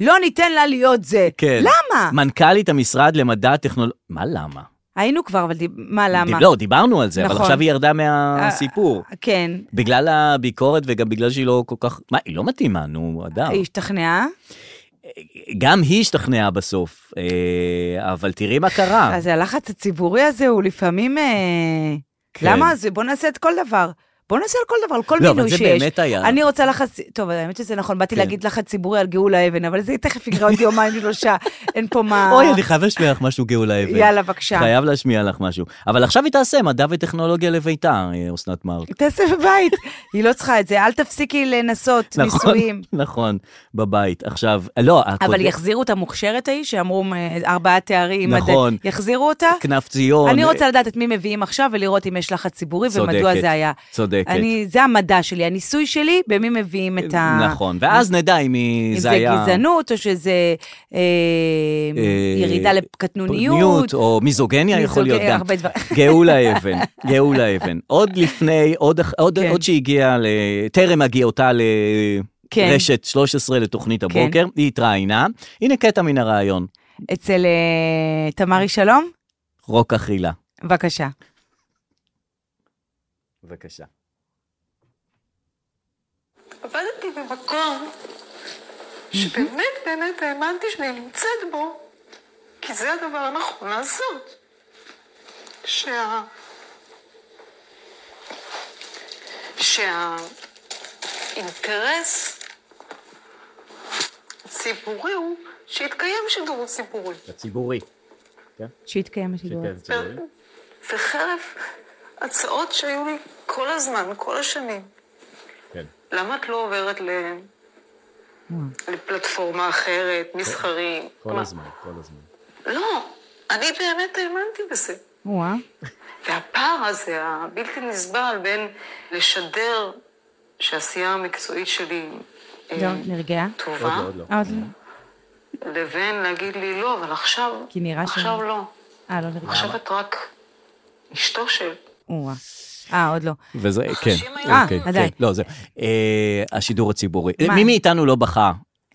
לא ניתן לה להיות זה.
כן.
למה?
מנכ"לית המשרד למדע הטכנולוגיה, מה למה?
היינו כבר, אבל דיב- מה, למה?
דיב- לא, דיברנו על זה, אבל
נכון.
עכשיו היא ירדה מהסיפור.
כן.
בגלל הביקורת וגם בגלל שהיא לא כל כך... מה, היא לא מתאימה, נו, אדם.
היא השתכנעה?
גם היא השתכנעה בסוף, אה, אבל תראי מה קרה.
אז הלחץ הציבורי הזה הוא לפעמים... אה,
כן.
למה? אז בוא נעשה את כל דבר. בוא נעשה על כל דבר, על כל
לא, אבל
מינוי
זה
שיש.
באמת היה.
אני רוצה לחץ, טוב, האמת שזה נכון, באתי
כן.
להגיד לחץ ציבורי על גאולה אבן, אבל זה תכף יקרה עוד יומיים שלושה, אין פה מה...
אוי, אני חייב להשמיע לך משהו, גאולה אבן.
יאללה, בבקשה.
חייב להשמיע לך משהו. אבל עכשיו היא תעשה מדע וטכנולוגיה לביתה, אה, אסנת מארק.
תעשה בבית, היא לא צריכה את זה, אל תפסיקי לנסות ניסויים.
נכון, בבית. עכשיו, לא, הקודם,
אבל יחזירו את המוכשרת ההיא, שאמרו אה, ארבעה תארים.
נכון.
עד- יחזירו אותה?
כנף ציון.
אני רוצה
אה,
לדעת את מי מביאים עכשיו ולראות אם יש לחץ ציבורי
צודקת,
ומדוע זה היה.
צודקת.
אני, זה המדע שלי, הניסוי שלי, במי מביאים את ה...
נכון, ואז נדע אם היא-
אם
זה
זה
היה...
גזענות או שזה אה,
אה,
ירידה
פוריות,
לקטנוניות.
או מיזוגניה יכול
מיזוג-
להיות גם.
הרבה דברים.
גאולה אבן, גאולה אבן. עוד לפני, עוד אח- עוד-
כן.
עוד שהגיעה, ל- טרם הגיעותה ל...
כן.
רשת 13 לתוכנית
כן.
הבוקר, היא התראיינה, הנה קטע מן הרעיון,
אצל אה, תמרי שלום?
רוק אכילה.
בבקשה.
בבקשה.
עבדתי במקום שבאמת באמת האמנתי שאני נמצאת בו, כי זה הדבר הנכון לעשות. שה... שהאינטרס הציבורי הוא שיתקיים שידור ציבורי.
הציבורי.
שיתקיים השידור.
וחרף הצעות שהיו לי כל הזמן, כל השנים.
כן.
למה את לא עוברת ל...
Mm.
לפלטפורמה אחרת, מסחרים?
כל הזמן, כל הזמן.
לא, אני באמת האמנתי בזה.
וואה.
והפער הזה, הבלתי נסבל בין לשדר שהעשייה המקצועית שלי אה,
לא, נרגעה?
טובה,
עוד לא.
אה, עוד לא.
לבין להגיד לי לא, אבל עכשיו,
כי נראה
עכשיו
שאני-
לא.
אה, לא נרגעה.
עכשיו את רק אשתו של...
וואה. אה, עוד לא.
וזה, כן.
חשים היום?
אוקיי,
אה, עדיין.
כן, לא, זהו. אה, השידור הציבורי.
מה?
מי מאיתנו לא בכה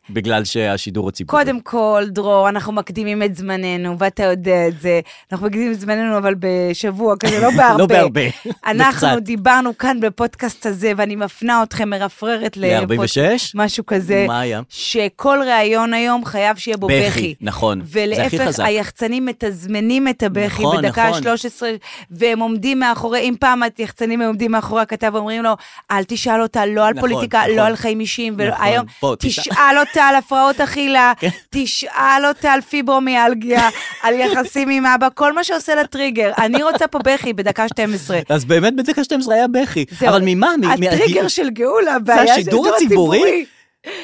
בגלל שהשידור הציבורי?
קודם כל, דרור, אנחנו מקדימים את זמננו, ואתה יודע את זה. אנחנו מקדימים את זמננו, אבל בשבוע כזה, לא בהרבה.
לא בהרבה.
אנחנו
בקצת.
דיברנו כאן בפודקאסט הזה, ואני מפנה אתכם, מרפררת ל...
ל-46?
משהו כזה.
מה היה?
שכל ראיון היום חייב שיהיה בו
בכי,
בכי.
נכון. זה הכי
ולהפך,
חזק.
היחצנים מתזמנים את הבכי
נכון,
בדקה
נכון.
ה-13, והם עומדים מאחורי, אם פעם היחצנים היו עומדים מאחורי הכתב ואומרים לו, אל תשאל אותה לא על
נכון,
פוליטיקה,
נכון.
לא על חיים אישיים, ולא-
נכון,
היום,
בוא, תשאל. כן.
תשאל אותה על הפרעות אכילה, תשאל אותה על פיברומיאלגיה, על יחסים עם אבא, כל מה שעושה לה טריגר. אני רוצה פה בכי בדקה 12.
אז באמת בדקה 12 היה בכי.
זהו.
אבל ממה? מ- מ-
הטריגר של גאולה, הבעיה של
השידור
השידור
הציבורי?
הציבורי.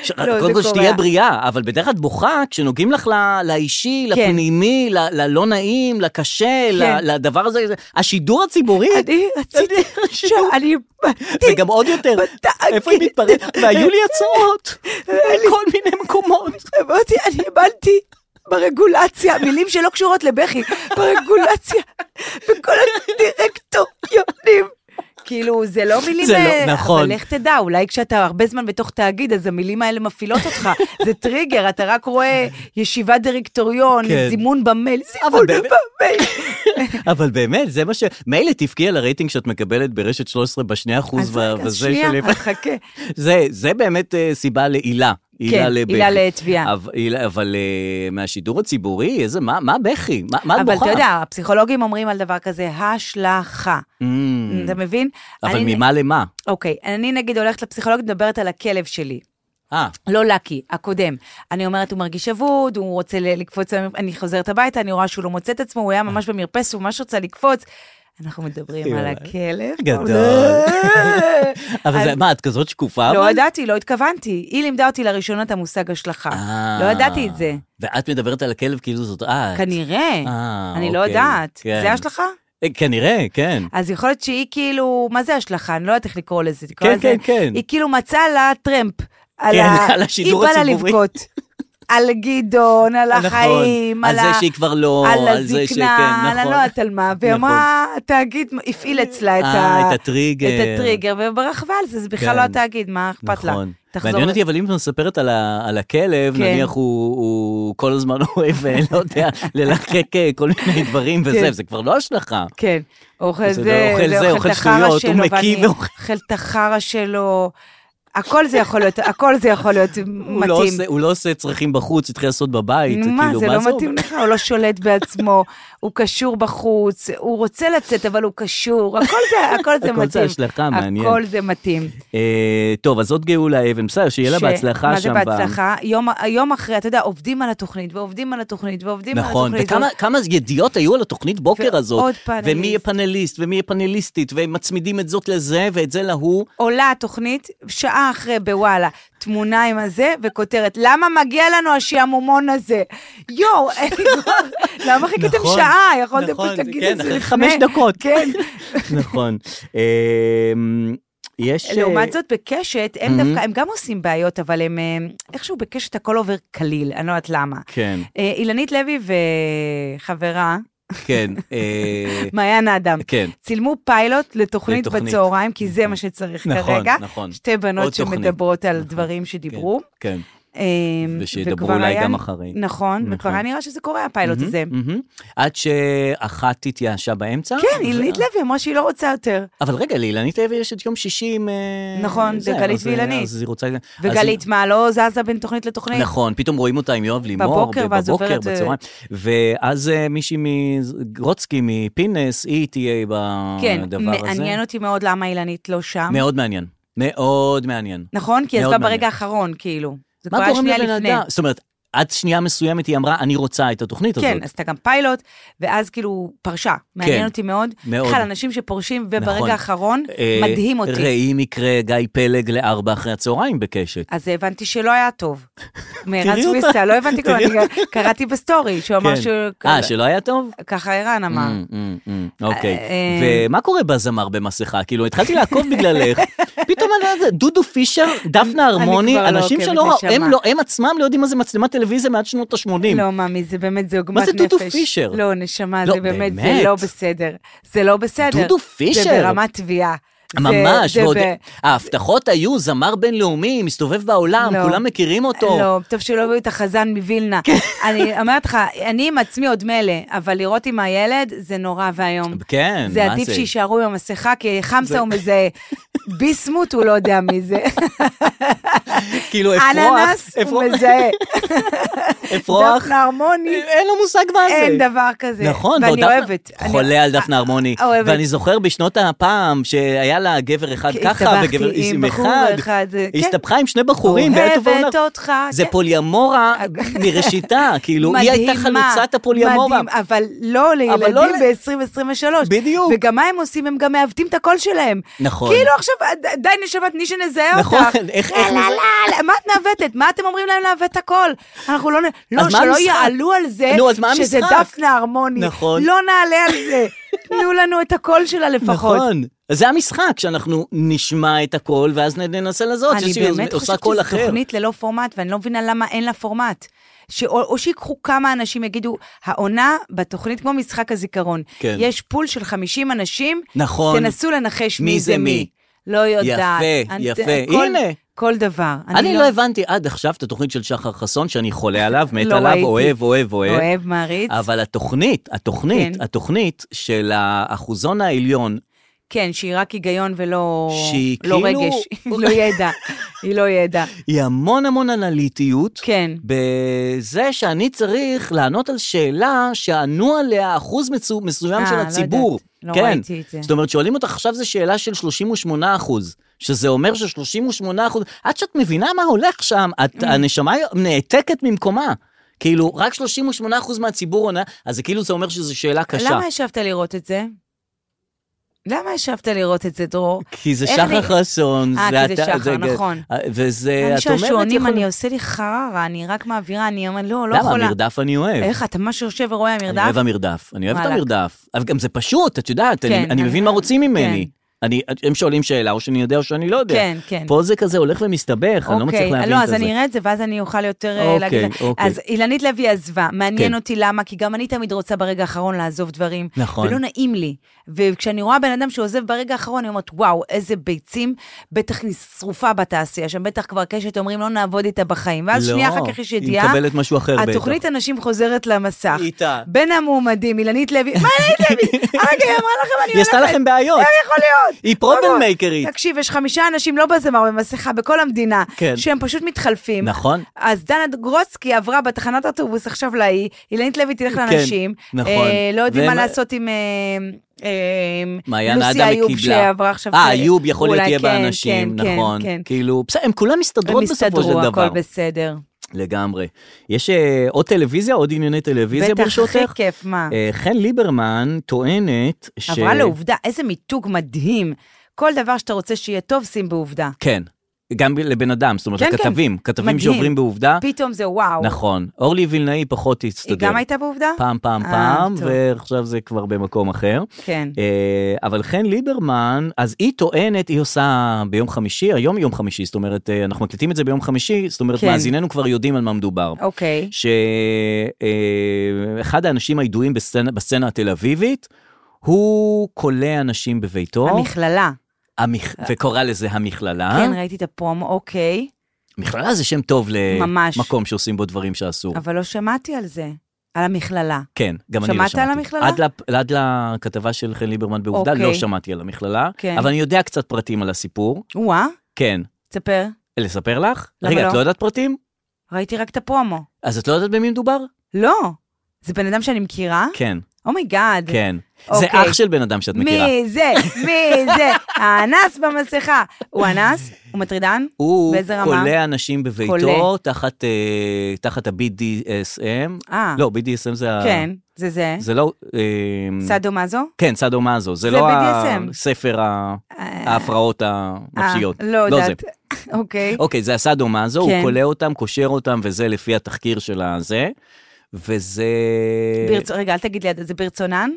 ש-
לא,
קודם
זה
כל
קורה.
שתהיה בריאה, אבל בדרך כלל את בוכה כשנוגעים לך ל- לאישי,
כן.
לפנימי, ל- ללא נעים, לקשה, ל-
כן.
לדבר הזה. זה- השידור הציבורי,
אני רציתי, שאני...
וגם עוד יותר,
בטנק.
איפה היא מתפרצת? והיו לי הצעות, בכל מיני מקומות.
אמרתי, אני האמנתי ברגולציה, מילים שלא קשורות לבכי, ברגולציה, בכל הדירקטוריונים. כאילו, זה לא מילים...
זה לא-
אה,
נכון.
אבל לך תדע, אולי כשאתה הרבה זמן בתוך תאגיד, אז המילים האלה מפעילות אותך. זה טריגר, אתה רק רואה ישיבת דירקטוריון,
כן.
זימון במייל, זימון
באמת-
במייל.
אבל באמת, זה מה ש... מילא תבכי על הרייטינג שאת מקבלת ברשת 13 בשני אחוז
אז רגע,
וזה
שנייה,
של...
אז חכה.
זה, זה באמת אה, סיבה לעילה. עילה לבכי.
כן, עילה לתביעה.
אבל, עילה- אבל אה, מהשידור הציבורי, איזה, מה, מה בכי? מה, מה את
אבל
בוכה?
אתה יודע, הפסיכולוגים אומרים על דבר כזה, השלכה.
Mm,
אתה מבין?
אבל
אני-
ממה למה?
אוקיי, אני נגיד הולכת לפסיכולוגית, מדברת על הכלב שלי.
אה,
לא לקי, הקודם. אני אומרת, הוא מרגיש אבוד, הוא רוצה ל- לקפוץ, על המרפ- אני חוזרת הביתה, אני רואה שהוא לא מוצא את עצמו,
אה.
הוא היה ממש במרפס, הוא ממש רצה לקפוץ. אנחנו מדברים על
יואי.
הכלב.
גדול. אבל זה, מה, את כזאת שקופה?
לא
אבל?
ידעתי, לא התכוונתי. היא לימדה אותי לראשונה את המושג השלכה.
אה.
לא ידעתי את זה.
ואת מדברת על הכלב כאילו זאת את.
כנראה.
אה,
אני לא
אוקיי,
יודעת.
כן.
זה השלכה?
אה, כנראה, כן.
אז יכול להיות שהיא כאילו, מה זה השלכה? אני לא יודעת איך לקרוא לזה. תקרא
כן,
לזה-
כן, כן.
היא כאילו מצאה לה טרמפ. על
כן,
ה-
על השידור הציבורי.
היא באה לה לבכות. על גדעון, על
נכון,
החיים,
על
על
זה
ה-
שהיא כבר לא,
על
על זה שכן,
הזקנה, על אני
נכון.
לא יודעת על מה, והיא
נכון.
אמרה, התאגיד הפעיל אצלה את
אה,
ה-
את הטריגר.
את הטריגר, וברחבה על זה, זה בכלל
כן.
לא התאגיד, מה אכפת לה?
נכון.
תחזור-
מעניין אותי, אבל אם את מספרת על, ה, על הכלב,
כן.
נניח הוא, הוא כל הזמן אוהב, אה, לא יודע, ללחק אה, כל מיני דברים וזה,
כן.
זה כבר לא השלכה.
כן, אוכל
בסדר,
זה,
אוכל זה, אוכל
את החרא
שטויות, הוא
שלו,
מקיא
ואני
ואוכל-
אוכל את החרא שלו, הכל זה יכול להיות, הכל זה יכול להיות
הוא לא,
מתאים.
עושה, הוא לא עושה צרכים בחוץ, התחיל לעשות בבית,
נו, מה,
כאילו,
זה
מה
לא
זה
מתאים לך, הוא לא שולט בעצמו, הוא קשור בחוץ, הוא רוצה לצאת, אבל הוא קשור, הכל זה, הכל זה
הכל
מתאים.
זה השלכה, מעניין.
הכל זה מתאים.
אה, טוב, אז זאת גאולה אבן, בסדר, שיהיה לה
ש-
בהצלחה שם.
מה
ב-
זה בהצלחה? יום, יום אחרי, אתה יודע, עובדים על התוכנית, ועובדים על התוכנית, ועובדים על
נכון,
התוכנית.
וכמה כמה ידיעות היו על התוכנית בוקר
ועוד
הזאת,
פאנליסט.
ומי יהיה פאנליסט, ומי יהיה פאנליסטית, והם מצמידים את זאת לזה ואת זה להוא.
עולה התוכנית, שעה אחרי בוואלה, תמונה עם הזה, וכותרת, למה מגיע לנו השעמומון הזה? יואו, אין לי כבר, למה חיכיתם
נכון,
שעה? יכולתם
נכון,
פשוט להגיד
כן,
את זה
אחרי
לפני.
חמש דקות.
כן.
נכון. אמ, יש... אה,
לעומת זאת, בקשת, הם דווקא, הם גם עושים בעיות, אבל הם, אה, איכשהו בקשת הכל עובר קליל, אני לא יודעת למה.
כן,
אה, אילנית לוי וחברה,
כן, אה,
מעיין האדם,
כן.
צילמו פיילוט לתוכנית
לתוכנית.
בצהריים, כי זה מה שצריך
נכון,
כרגע.
נכון.
שתי בנות
עוד תוכנית.
שמדברות על
נכון,
דברים שדיברו.
כן.
אה,
ושידברו
וכבר
אולי
היה-
גם אחרי.
נכון, וכבר
נכון.
היה נראה שזה קורה, הפיילוט לא הזה.
מהמם. עד שאחת התייאשה באמצע?
כן,
ו-
אילנית לוי אמרה שהיא לא רוצה יותר.
אבל רגע, לאילנית לוי יש את יום שישי עם... אה,
נכון,
זה,
וגלית
אז-
ואילנית.
אז היא רוצה... אז היא-
וגלית, מה, לא זזה בין תוכנית לתוכנית?
נכון, פתאום רואים אותה עם יואב לימור,
בבוקר, ואז
בבוקר,
עוברת, אה,
בצהריים. ואז אה, מישהי מגרוצקי, מפינס, היא תהיה
כן,
בדבר הזה.
מעניין אותי מאוד למה אילנית לא שם.
מאוד מעניין, מאוד מעניין.
נכון? כי היא
מאוד
עזבה
מעניין.
ברגע האחרון, כאילו. זה כבר
מה
היה
גורם
שנייה
לבן
לפני.
אדם? זאת אומרת, עד שנייה מסוימת היא אמרה, אני רוצה את התוכנית הזאת.
כן, עשתה גם פיילוט, ואז כאילו פרשה. מעניין
כן,
אותי מאוד.
מאוד.
בכלל, אנשים שפורשים
נכון.
וברגע האחרון,
אה,
מדהים אותי.
ראי מקרה גיא פלג לארבע אחרי הצהריים בקשת.
אז הבנתי שלא היה טוב. מערן
תראי אותה.
סוויסה, לא הבנתי כלום,
תראי
אני גם- קראתי בסטורי, שהוא אמר
כן.
לא שהוא...
אה, שלא היה טוב?
ככה ערן אמר.
אמ, אמ, אמ, אוקיי.
אה,
ומה קורה בזמר במסכה? כאילו, התחלתי לעקוב בגללך. פתאום אני יודעת, דודו פישר, דפנה הרמוני,
כבר לא
אנשים
עוקבת,
שלא ראו, הם
נשמה.
לא- הם עצמם לא יודעים מה זה מצלמת טלוויזיה מעד שנות ה-80.
לא, מאמי, זה באמת, זה עוגמת
Mm. מה
נפש.
זה דודו פישר?
לא, נשמה,
לא,
זה באמת, זה
באמת.
לא בסדר. זה לא בסדר.
דודו
זה
פישר.
ברמת תביעה. זה-
ממש,
זה
ועוד-
ב-
ההבטחות היו זמר בינלאומי, מסתובב בעולם,
לא.
כולם מכירים אותו. כן.
לא, טוב שלא הביאו את החזן מווילנה. אני אומרת לך, אני עם עצמי עוד מילא, אבל לראות עם הילד זה נורא ואיום.
כן,
זה
מה
עדיף
זה?
שיישארו עם המסכה, כי חמסה
זה-
הוא מזהה. ביסמוט הוא לא יודע מי זה.
כאילו, אפרוח,
אננס הוא
אפרוח-
מזהה.
אפרוח,
דפנה הרמוני,
אין לו מושג מה זה.
אין דבר כזה.
נכון, ועוד
ואני
דפנה-
אוהבת. אני- אה,
חולה על דפנה הרמוני.
אוהבת.
ואני זוכר בשנות הפעם שהיה לה גבר אחד
כי
ככה
הסתבכתי
וגבר
עם
עם
בחור
אחד.
אחד,
היא
כן.
הסתבכה עם שני בחורים בעת ובעונה.
אוהבת אותך.
זה
כן.
פוליאמורה מראשיתה, כאילו, היא הייתה
מדהימה,
חלוצת הפוליאמורה.
מדהים, אבל לא
אבל לא
לילדים
ל-
ב-2023.
בדיוק.
וגם מה הם עושים? הם גם מעוותים את הקול שלהם.
נכון.
כאילו עכשיו, ד- די נשמה, תני שנזהה אותך.
נכון, איך- איך
לא,
נזהה?
לא, לא, מה את מעוותת? מה אתם אומרים להם לעוות את הקול? אנחנו לא... נ- לא,
אז מה
שלא
המשחק?
יעלו על זה,
נו, אז מה
שזה
המשחק?
דפנה הרמוני.
נכון.
לא נעלה על זה. תנו לנו את הקול שלה לפחות.
נכון. אז זה המשחק, שאנחנו נשמע את הכל, ואז נ- ננסה לזאת,
אני
שהיא
באמת
לא, עושה
חושבת
קול
שזו
אחר.
תוכנית ללא פורמט, ואני לא מבינה למה אין לה פורמט. שאו, או שיקחו כמה אנשים, יגידו, העונה בתוכנית כמו משחק הזיכרון.
כן.
יש פול של 50 אנשים,
נכון.
תנסו לנחש
מי
מי
זה
זה
מי.
מי. לא יודעת.
יפה,
אני-
יפה.
כל-
הנה.
כל דבר.
אני לא הבנתי עד עכשיו את התוכנית של שחר חסון, שאני חולה עליו, מת
לא
עליו,
ראיתי.
אוהב, אוהב, אוהב.
אוהב, מעריץ.
אבל התוכנית, התוכנית,
כן.
התוכנית של האחוזון העליון,
כן, שהיא רק היגיון ולא
שהיא
לא
כאילו-
רגש. היא לא ידע. היא לא ידע.
היא המון המון אנליטיות.
כן.
בזה שאני צריך לענות על שאלה שענו עליה אחוז מצו- מסוים
אה,
של
לא
הציבור.
יודעת. לא
כן.
ראיתי את זה.
זאת אומרת, שואלים אותך עכשיו זו שאלה של 38 אחוז, שזה אומר ש-38 אחוז, עד שאת מבינה מה הולך שם, את,
אה.
הנשמה נעתקת ממקומה. כאילו, רק 38 אחוז מהציבור עונה, אז זה כאילו זה אומר שזו שאלה קשה.
למה ישבת לראות את זה? למה ישבת לראות את זה, דרור?
כי זה
איך
שחר
אני-
חסון.
אה, כי זה
אתה- אה,
שחר, נכון.
וזה,
אני
את אומרת,
שעשועונים,
יכול-
אני עושה לי חררה, אני רק מעבירה, אני אומרת, לא,
למה?
לא יכולה.
מרדף אני אוהב.
איך, אתה ממש יושב ורואה
אני לא אוהב
המרדף?
המרדף, אני אוהב את
וואלכ.
המרדף. אבל גם זה פשוט, את יודעת, אני-
כן,
אני
אני-
מבין מה רוצים ממני.
כן.
אני- הם שואלים שאלה, או שאני יודע או שאני לא יודע.
כן, כן.
פה זה כזה הולך ומסתבך, אני לא מצליח להבין
לא,
את
אז
זה.
אני אראה את זה, ואז אני אוכל יותר אה,
אוקיי,
להגיד.
אוקיי.
אז אילנית לוי עזבה, מעניין
כן.
אותי למה, כי גם אני תמיד רוצה ברגע האחרון לעזוב דברים.
נכון.
ולא נעים לי. וכשאני רואה בן אדם שעוזב ברגע האחרון, אני אומרת, וואו, איזה ביצים, בטח היא שרופה בתעשייה שם, בטח כבר קשת אומרים, לא נעבוד איתה בחיים. ואז
לא,
שנייה אחר כך יש
היא
ידיעה.
מקבלת משהו אחר בטח.
התוכנית אנשים חוזרת למסך.
איתה.
בין המועמדים, אילנית לוי, מה אילנית לוי? הרגע, היא אמרה לכם, אני הולכת.
היא עשתה לכם בעיות.
איך יכול להיות?
היא problem
לא, לא.
makerית.
תקשיב, יש חמישה אנשים לא בזמר במסכה בכל המדינה,
כן.
שהם פשוט מתחלפים.
נכון.
אז דנה גרוצקי עברה בתחנת אוטובוס עכשיו להיא, אילנית לוי תלך לאנשים.
כן, נכון.
אה, לא יודעים
והם-
מה לעשות עם... אה, אה,
מעיין
לוסי
אדם
איוב
קיבלה.
שעברה עכשיו...
אה,
ת-
איוב יכול להיות
אולי
יהיה
כן,
באנשים,
כן, כן,
נכון.
כן.
כאילו, בסדר, הם כולם
הם
מסתדרות בסופו של
הסתדרו,
דבר.
הכל בסדר.
לגמרי. יש אה, עוד טלוויזיה, עוד ענייני טלוויזיה
בטח,
ברשותך?
הכי כיף, מה?
אה, חן ליברמן טוענת ש...
עברה לעובדה, איזה מיתוג מדהים. כל דבר שאתה רוצה שיהיה טוב, שים בעובדה.
כן, גם ב- לבן אדם, זאת אומרת,
כן, כן.
לכתבים, כתבים
מדהים.
שעוברים בעובדה.
פתאום זה וואו.
אה? נכון. אורלי וילנאי פחות
היא
תסתדר.
גם הייתה בעובדה?
פעם, פעם,
אה,
פעם,
טוב.
ועכשיו זה כבר במקום אחר.
כן.
אה, אבל חן ליברמן, אז היא טוענת, היא עושה ביום חמישי, היום יום חמישי, זאת אומרת, אה, אנחנו מקליטים את זה ביום חמישי, זאת אומרת,
כן.
מאזיננו כבר יודעים על מה מדובר.
אוקיי.
שאחד האנשים הידועים בסצנה, בסצנה התל אביבית, הוא כולא אנשים בביתו,
המכללה. אה.
המכ... וקורא לזה המכללה.
כן, ראיתי את הפרומו, אוקיי.
מכללה זה שם טוב
ממש.
למקום שעושים בו דברים שאסור.
אבל לא שמעתי על זה, על המכללה.
כן, גם אני לא
שמעת על
שמעתי.
המכללה?
עד, ל, עד לכתבה של חן ליברמן בעובדה
אוקיי.
לא שמעתי על המכללה,
כן.
אבל אני יודע קצת פרטים על הסיפור.
וואה,
כן.
תספר.
לספר לך?
למה
רגע,
לא?
את לא יודעת פרטים?
ראיתי רק את הפרומו.
אז את לא יודעת במי מדובר?
לא, זה בן אדם שאני מכירה?
כן,
אומייגאד.
כן. זה
אוקיי.
אח של בן אדם שאת מכירה.
מי זה? מי זה? האנס במסכה. הוא אנס? הוא מטרידן?
הוא
באיזה רמה?
כולא אנשים בביתו
כולא.
תחת, אה, תחת ה-BDSM.
אה,
לא, BDSM זה ה...
כן, זה זה.
זה לא... אה,
סאדו מאזו?
כן, סאדו מאזו. זה
זה
לא
BDSM.
הספר ה- ההפרעות הנפשיות.
אה, לא
אה, זה.
יודעת. אוקיי.
אוקיי, זה הסאדו מאזו, הוא
כן.
כולא אותם, קושר אותם, וזה לפי התחקיר של הזה. וזה... אוקיי.
ברצ- רגע, אל תגיד לי, זה ברצונן?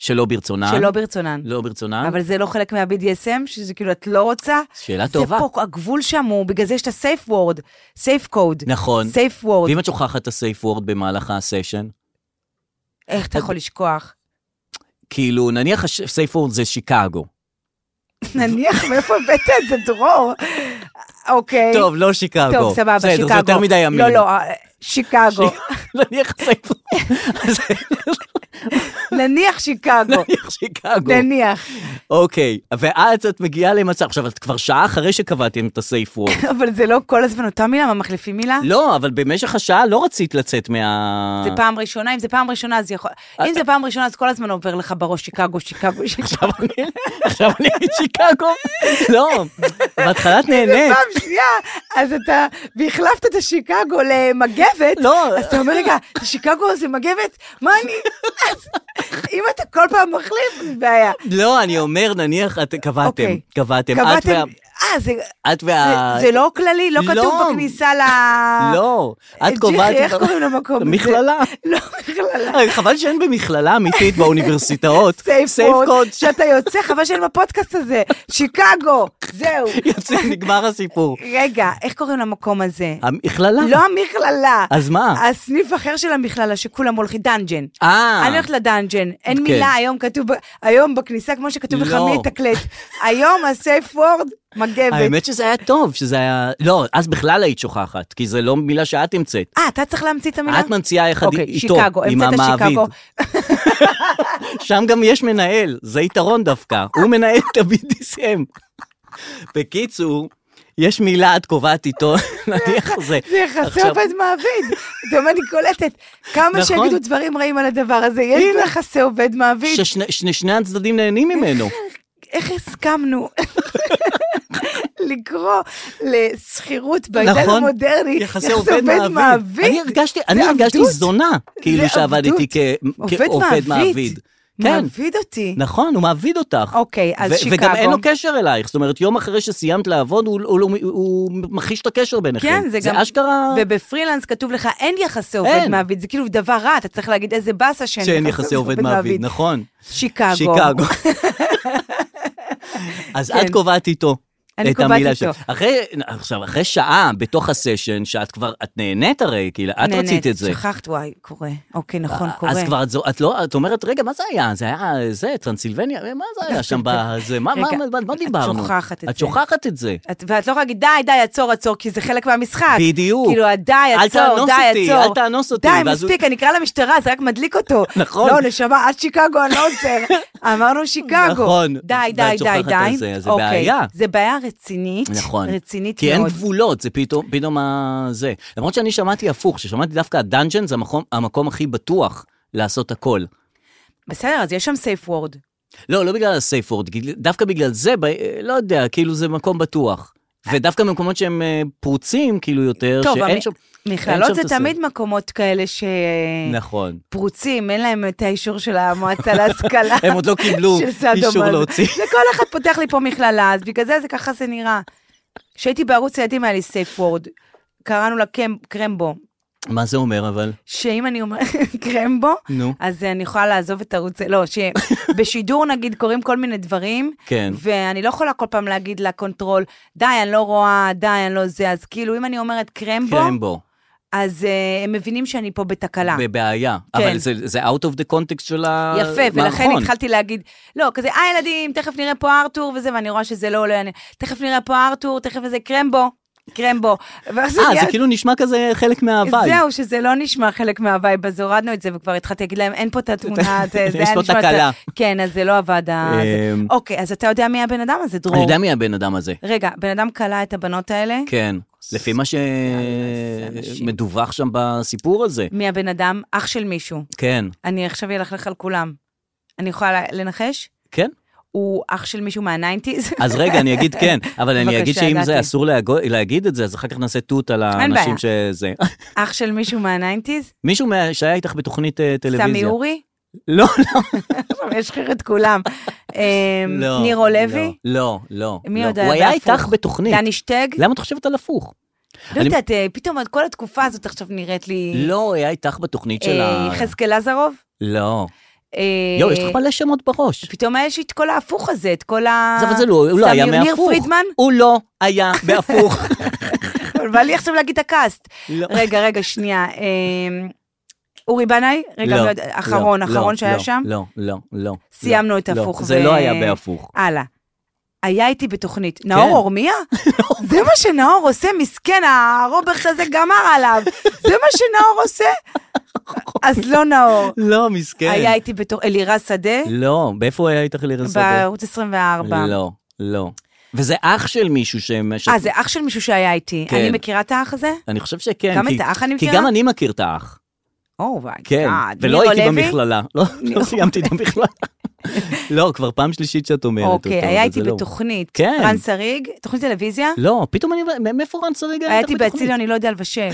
שלא ברצונם.
שלא ברצונן.
לא ברצונם.
אבל זה לא חלק מה-BDSM, שזה כאילו את לא רוצה?
שאלה טובה.
זה פה, הגבול שם הוא, בגלל זה יש את ה-safe word, safe code.
נכון.
safe word.
ואם את שוכחת את הסייף וורד במהלך הסשן?
איך אתה יכול לשכוח?
כאילו, נניח הסייף וורד זה שיקגו.
אוקיי. נניח, מאיפה הבאת את זה, דרור? אוקיי.
טוב, לא שיקגו.
טוב, סבבה, שיקגו.
בסדר, זה יותר מדי ימים.
לא, לא, אה, שיקגו.
נניח הסייף וורד.
נניח שיקגו.
נניח שיקגו.
נניח.
אוקיי, ואז את מגיעה למצב, עכשיו את כבר שעה אחרי שקבעתם את הסייף וורד.
אבל זה לא כל הזמן אותה מילה, מה מחליפים מילה?
לא, אבל במשך השעה לא רצית לצאת מה...
זה פעם ראשונה, אם זה פעם ראשונה, אז יכול...
אה,
אם זה פעם ראשונה, אז כל הזמן עובר לך בראש שיקגו, שיקגו, שיקגו.
עכשיו אני, עכשיו אני משיקגו. לא, בהתחלה את נהנית.
פעם שנייה, אז אתה, והחלפת את השיקגו למגבת,
לא.
אז אתה אומר, רגע, שיקגו זה מגבת? מה אני... אז אם אתה כל פעם מחליף, אין בעיה.
לא, אני אומר, נניח, את קבעתם,
אוקיי.
קבעתם. את וה-
קבעתם... אה, זה...
את וה...
זה- זה לא כללי, לא
לא.
כתוב בכניסה ל...
לא, את
ג'יחי,
קובעת...
איך קוראים למקום הזה?
מכללה.
לא, מכללה.
אה, חבל שאין במכללה אמיתית באוניברסיטאות.
סייף
safe
קוד.
code.
שאתה יוצא, חבל שאין בפודקאסט הזה. שיקגו, זהו.
יוצא, נגמר הסיפור.
רגע, איך קוראים למקום הזה?
המכללה.
לא המכללה.
אז מה?
הסניף אחר של המכללה, שכולם הולכים דאנג'ן.
אה.
אני הולכת לדאנג'ן, אין
כן.
מילה, היום כתוב, ב- היום בכניסה, כמו שכתוב לך
לא.
מי יתקלט. היום הסייף וורד מגבת.
האמת שזה היה טוב, שזה היה... לא, אז בכלל היית שוכחת, כי זה לא מילה שאת המצאת.
אה, אתה צריך להמציא את המילה?
את ממציאה יחד
אוקיי,
איתו,
שיקגו,
עם
המצאת
המעביד.
שיקגו.
שם גם יש מנהל, זה יתרון דווקא, הוא מנהל את ה-BDSM. בקיצור, יש מילה, את קובעת איתו, נניח זה.
זה יחסי
עכשיו-
עובד מעביד. אתה אומר, אני קולטת. כמה
נכון.
שיגידו דברים רעים על הדבר הזה, יש יחסי עובד מעביד.
ששני שני- שני הצדדים נהנים ממנו.
איך הסכמנו לקרוא לשכירות בעידן
נכון.
המודרני
יחסי עובד מעביד. אני הרגשתי, אני
זה
הרגשתי
עבדות.
זונה, כאילו
זה
שעבדתי
עבדות.
כ-
עובד
כעובד
מעביד.
מעביד. כן,
מעביד אותי.
נכון, הוא מעביד אותך.
אוקיי, אז
ו-
שיקגו.
וגם אין לו קשר אלייך, זאת אומרת, יום אחרי שסיימת לעבוד, הוא, הוא, הוא, הוא מכחיש את הקשר ביניכם.
כן, זה גם...
זה אשכרה...
ובפרילנס כתוב לך, אין יחסי עובד
אין.
מעביד, זה כאילו דבר רע, אתה צריך להגיד איזה באסה שאין,
שאין יחסי עובד מעביד, נכון.
שיקגו.
שיקגו. אז
כן.
את קובעת איתו.
אני
את
קובעת
המילה
איתו.
ש- אחרי, עכשיו, אחרי שעה בתוך הסשן, שאת כבר, את נהנית הרי, כאילו, את
נהנית,
רצית את זה. אה,
שכחת, וואי, קורה. אוקיי, נכון, קורה.
אז כבר את, זו- את לא, את אומרת, רגע, מה זה היה? זה היה זה, טרנסילבניה? מה זה היה שם בזה? מה, מה,
רגע,
מה, מה
את
דיברנו?
שוכחת את
את
זה.
שוכחת את זה.
את- ואת לא יכולה להגיד, די, די, עצור, עצור, כי זה חלק מהמשחק.
בדיוק.
כאילו, די,
אל
עצור,
תאנוס
די,
אותי,
עצור.
אל תאנוס אותי,
די,
ואז הוא-
מספיק, אני אקרא למשטרה, זה רק מדליק אותו.
נכון.
לא, נשמה, עד שיקגו אני לא עוצר. אמרנו שיקגו.
נכון.
די, די,
ואת
די,
שוכחת
די.
על זה, אז זה
אוקיי.
בעיה.
זה בעיה רצינית.
נכון.
רצינית
כי
מאוד.
אין גבולות, זה פתאום, פתאום ה... זה. למרות שאני שמעתי הפוך, ששמעתי דווקא הדאנג'ן זה המקום, המקום הכי בטוח לעשות הכל.
בסדר, אז יש שם סייף וורד.
לא, לא בגלל הסייף וורד, גיל- דווקא בגלל זה, ב... לא יודע, כאילו זה מקום בטוח. ודווקא במקומות שהם אה, פרוצים, כאילו יותר,
טוב,
שאין
המ-
שם...
מכללות זה
את הסייף.
תמיד מקומות כאלה ש...
נכון.
פרוצים, אין להם את האישור של המועצה להשכלה.
הם עוד לא קיבלו
של סעדו
אישור
מאזו.
להוציא.
זה כל אחד פותח לי פה מכללה, אז בגלל זה זה ככה זה נראה. כשהייתי בערוץ ילדים היה לי סייף וורד, קראנו לה קמ- קרמבו,
מה זה אומר אבל?
שאם אני אומרת קרמבו,
נו.
אז אני יכולה לעזוב את ערוץ, לא, שבשידור נגיד קורים כל מיני דברים,
כן.
ואני לא יכולה כל פעם להגיד לקונטרול, די, אני לא רואה, די, אני לא זה, אז כאילו אם אני אומרת קרמבו,
קרמבו,
אז אה, הם מבינים שאני פה בתקלה.
בבעיה.
כן.
אבל זה- זה out of the context של המערכון.
יפה, ולכן התחלתי להגיד, לא, כזה, אה ילדים, תכף נראה פה ארתור וזה, ואני רואה שזה לא עולה, אני, תכף נראה פה ארתור, תכף איזה קרמבו. קרמבו. ואז
אה,
מיד-
זה כאילו נשמע כזה חלק מההוואי.
זהו, שזה לא נשמע חלק מהווייב, אז הורדנו את זה וכבר התחלתי להגיד להם, אין פה את התמונה, זה זה
יש
היה
פה
נשמע... את ה-
תקלה.
כן, אז זה לא עבד. ה- זה.
אמ,
אוקיי, אז אתה יודע מי הבן אדם הזה, דרור?
אני יודע מי הבן אדם הזה.
רגע, בן אדם כלא את הבנות האלה?
כן. לפי מה
אנשים.
שמדווח שם בסיפור הזה.
מי הבן אדם? אח של מישהו.
כן.
אני עכשיו אלכלך על כולם. אני יכולה לנחש?
כן.
הוא אח של מישהו מהניינטיז?
אז רגע, אני אגיד כן, אבל אני
בבקשה,
אגיד שאם זה
ידעתי.
אסור להגו- להגיד את זה, אז אחר כך נעשה תות על
בעיה.
האנשים שזה.
אח של מישהו מהניינטיז?
מישהו מה- שהיה איתך בתוכנית אה, טלוויזיה.
סמי אורי?
לא, לא.
יש לך את כולם. אמ,
לא,
ניר
לא,
לוי?
לא, לא.
מי
לא.
עוד
הוא
היה
היה
בהפוך?
איתך בתוכנית.
דני שטג?
למה את חושבת על הפוך?
לא
אני-
יודעת, אה, פתאום כל התקופה הזאת עכשיו נראית לי...
לא, הוא היה איתך בתוכנית של
אה,
ה...
יחזקאל לזרוב?
לא.
אה,
יואו, יש לך מלא שמות בראש.
פתאום היה יש לי את כל ההפוך הזה, את כל ה...
זה- אבל זה לא, הוא לא
סמי-
היה מהפוך.
ניר פרידמן?
הוא לא היה לא. בהפוך.
אבל בא לי עכשיו להגיד את הקאסט.
לא.
רגע, רגע, שנייה. אה, אורי בנאי? רגע,
לא,
לא יודע, אחרון,
לא,
אחרון
לא,
שהיה
לא,
שם?
לא, לא, לא.
סיימנו
לא,
את הפוך
לא, זה
ו-
לא היה בהפוך.
הלאה. היה איתי בתוכנית.
כן.
נאור אורמיה? זה מה שנאור עושה, מסכן, הרוברט הזה גמר עליו. זה מה שנאור עושה?
נכון.
אז לא נאור.
לא, מסכן.
היה איתי בתור אלירז שדה,
לא, מאיפה הוא היה איתך לירי שדה?
בערוץ 24.
לא, לא. וזה אח של מישהו ש...
אה, זה אח של מישהו שהיה איתי.
כן.
אני מכירה את האח הזה?
אני חושב שכן.
גם
כי-
את האח אני
כי
מכירה?
גם אני מכיר את האח.
או, וואי,
כן.
גאד.
ולא
מירו
הייתי
לוי? אוקיי.
במכללה. לא, לא סיימתי את המכללה. לא, כבר פעם שלישית שאת אומרת אותו.
אוקיי, היה
וזה
איתי
לא-
בתוכנית.
כן.
רן שריג, תוכנית טלוויזיה?
לא, פתאום אני... מאיפה רן שריג היה
היה
איתך
איתי
בתוכנית?
באצילio, אני לא יודע לבשל.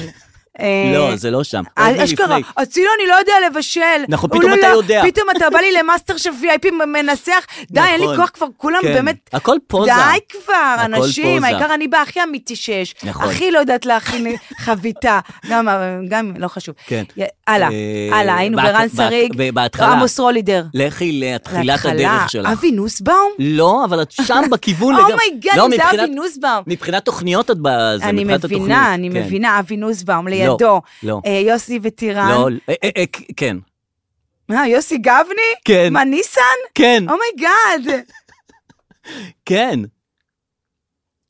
אה,
לא, זה לא שם.
אה,
עוד
אשכרה,
מלפני.
אצילו אני לא יודע לבשל.
נכון,
הוא
פתאום
לא-
אתה
לא,
יודע.
פתאום אתה בא לי למאסטר של VIP מנסח, די, אין לי
נכון.
כוח כבר, כולם
כן.
באמת...
הכל פוזה.
די כבר,
הכל
אנשים,
פוזה.
העיקר אני באה הכי אמיתי שיש.
נכון.
הכי לא יודעת להכין חביתה, גם, גם לא חשוב.
כן.
י- הלאה,
אה,
הלאה, היינו
בהת-
ברן
בהת-
שריג,
ב- בהתחלה.
עמוס רולידר.
לכי לתחילת
להתחלה,
הדרך שלך.
אבי Oh נוסבאום?
לא, אבל את שם בכיוון לגמרי.
אומייגאד,
לא,
אם זה
מבחינת-
אבי נוסבאום.
מבחינת תוכניות את בזה,
אני
מבחינת התוכנית.
מבינה, אני
כן.
מבינה, אבי נוסבאום לידו.
לא.
אה, יוסי וטירן.
לא, אה, אה, אה, כן.
מה, יוסי גבני?
כן.
מה, אוקיי. ניסן? Oh
כן,
אומייגאד.
כן.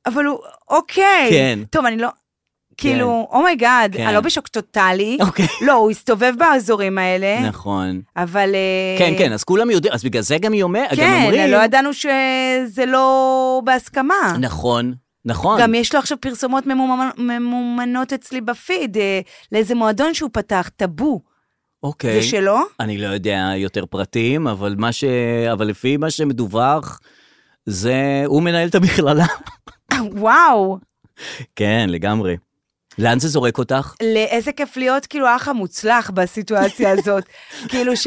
אבל הוא, אוקיי.
כן.
טוב, אני לא... כאילו, אומייגאד,
כן.
אני לא בשוק טוטאלי.
אוקיי.
לא, הוא הסתובב באזורים האלה,
נכון.
אבל... אה,
כן, כן, אז כולם יודעים, אז בגלל זה גם היא אומרת, גם
כן,
אומרים.
לא ידענו שזה לא בהסכמה.
נכון, נכון.
גם יש לו עכשיו פרסומות ממומן- ממומנות אצלי בפיד, אה, לאיזה מועדון שהוא פתח, טאבו.
אוקיי.
זה שלו?
אני לא יודע יותר פרטים, אבל מה ש... אבל לפי מה שמדווח, זה... הוא מנהל את המכללה.
וואו,
כן, לגמרי. לאן זה זורק אותך?
לאיזה כיף להיות כאילו האח המוצלח בסיטואציה הזאת. כאילו ש...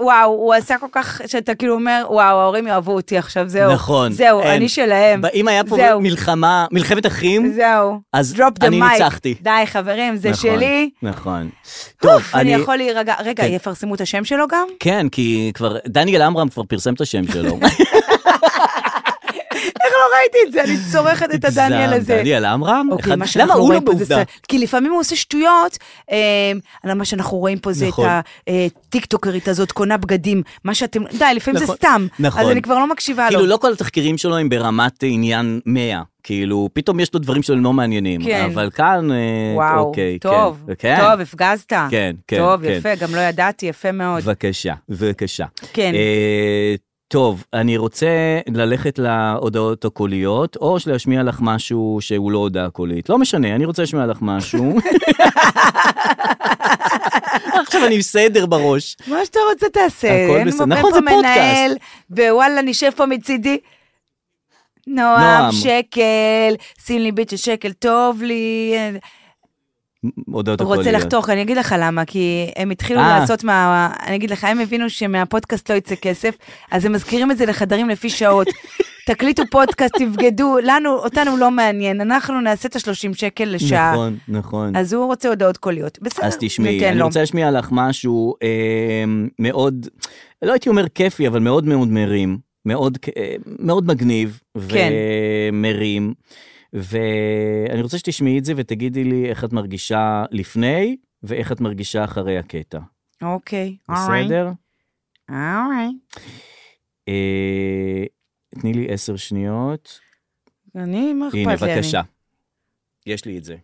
וואו, הוא עשה כל כך, שאתה כאילו אומר, וואו, ההורים יאהבו אותי עכשיו, זהו.
נכון.
זהו,
אין.
אני שלהם.
אם היה פה
אמ, זהו.
מלחמה, מלחמת אחים,
זהו.
אז
Drop the
אני
mic.
ניצחתי.
די, חברים, זה
נכון,
שלי.
נכון. טוב,
טוב, אני יכול להירגע. רגע,
כן.
יפרסמו את השם שלו גם?
כן, כי כבר, דניאל עמרם כבר פרסם את השם שלו.
איך לא ראיתי את זה? אני צורכת את הדניאל
זעם,
הזה.
דניאל עמרם?
אוקיי,
אחד-
מה שאנחנו
למה הוא לא
רואים פה זה
בעובדה?
סרט. כי לפעמים הוא עושה שטויות, אה, מה שאנחנו רואים פה זה את
נכון.
הטיקטוקרית הזאת קונה בגדים, מה שאתם, די, לפעמים זה
נכון,
סתם.
נכון.
אז אני כבר לא מקשיבה לו.
כאילו, לא כל התחקירים שלו הם ברמת עניין 100. כאילו, פתאום יש לו דברים שלא מעניינים.
כן.
אבל כאן, אה,
וואו,
אוקיי, כן.
טוב,
כן.
טוב, הפגזת.
כן, כן,
טוב,
כן.
יפה, גם לא ידעתי, יפה מאוד.
בבקשה, בבקשה.
כן.
אה, טוב, אני רוצה ללכת להודעות הקוליות, או להשמיע לך משהו שהוא לא הודעה קולית. לא משנה, אני רוצה להשמיע לך משהו. עכשיו אני עם סדר בראש.
מה שאתה רוצה תעשה,
הכל
אין
בסדר.
פה- אין
נכון,
פה
זה פודקאסט.
מנהל, ווואלה, נשב פה מצידי. נועם
נועם.
שקל, שים לי ביט של שקל, טוב לי.
הודעות
הוא
הקוליות.
רוצה לחתוך, אני אגיד לך למה, כי הם התחילו
אה.
לעשות מה... אני אגיד לך, הם הבינו שמהפודקאסט לא יצא כסף, אז הם מזכירים את זה לחדרים לפי שעות. תקליטו פודקאסט, תבגדו, לנו, אותנו לא מעניין, אנחנו נעשה את ה-30 שקל לשעה.
נכון, נכון.
אז הוא רוצה הודעות קוליות. בסדר,
אז תשמעי,
ניתן
אני
לו.
רוצה להשמיע לך משהו אה, מאוד, לא הייתי אומר כיפי, אבל מאוד מאוד מרים, מאוד, אה, מאוד מגניב
כן.
ומרים, ואני רוצה שתשמעי את זה ותגידי לי איך את מרגישה לפני ואיך את מרגישה אחרי הקטע,
אוקיי, אולי.
בסדר?
אולי.
אה, תני לי עשר שניות.
אני, מה אכפת לי?
הנה,
אני?
בבקשה. יש לי את זה.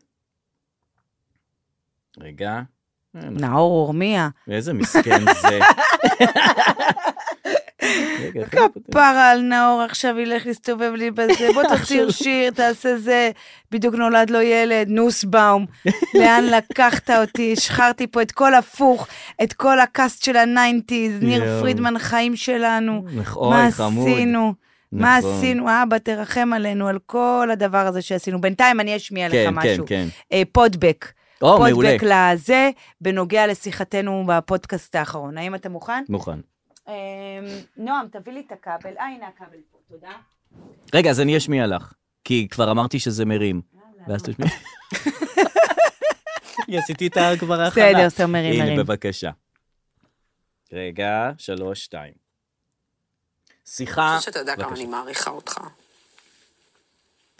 רגע,
נאור אורמיה.
איזה מסכן זה. רגע, איך אני פותח?
כפרה על נאור עכשיו ילך להסתובב לי בזה, בוא תוציא שיר, תעשה זה, בדיוק נולד לו ילד, נוסבאום, לאן לקחת אותי, השחרתי פה את כל הפוך, את כל הקאסט של הניינטיז, ניר
יואו.
פרידמן חיים שלנו,
נכ-
מה
אוי, חמוד.
עשינו, מה
נכון.
עשינו, אבא תרחם עלינו על כל הדבר הזה שעשינו, בינתיים אני אשמיע לך
כן, כן,
משהו,
כן.
אה, פודבק,
או, מעולה.
פודבק לזה, בנוגע לשיחתנו בפודקאסט האחרון, האם אתה מוכן?
מוכן.
אמ, נועם, תביא לי את הכבל. אה, הנה הכבל פה, תודה.
רגע, אז אני אשמיע לך, כי כבר אמרתי שזה מרים. ואז תשמיע. אני עשיתי את כבר ההכנה.
בסדר, סתם מרים, מרים.
הנה, בבקשה. רגע, שלוש, שתיים. שיחה...
חושבת שאתה יודע כמה
בבקשה.
אני מעריכה אותך.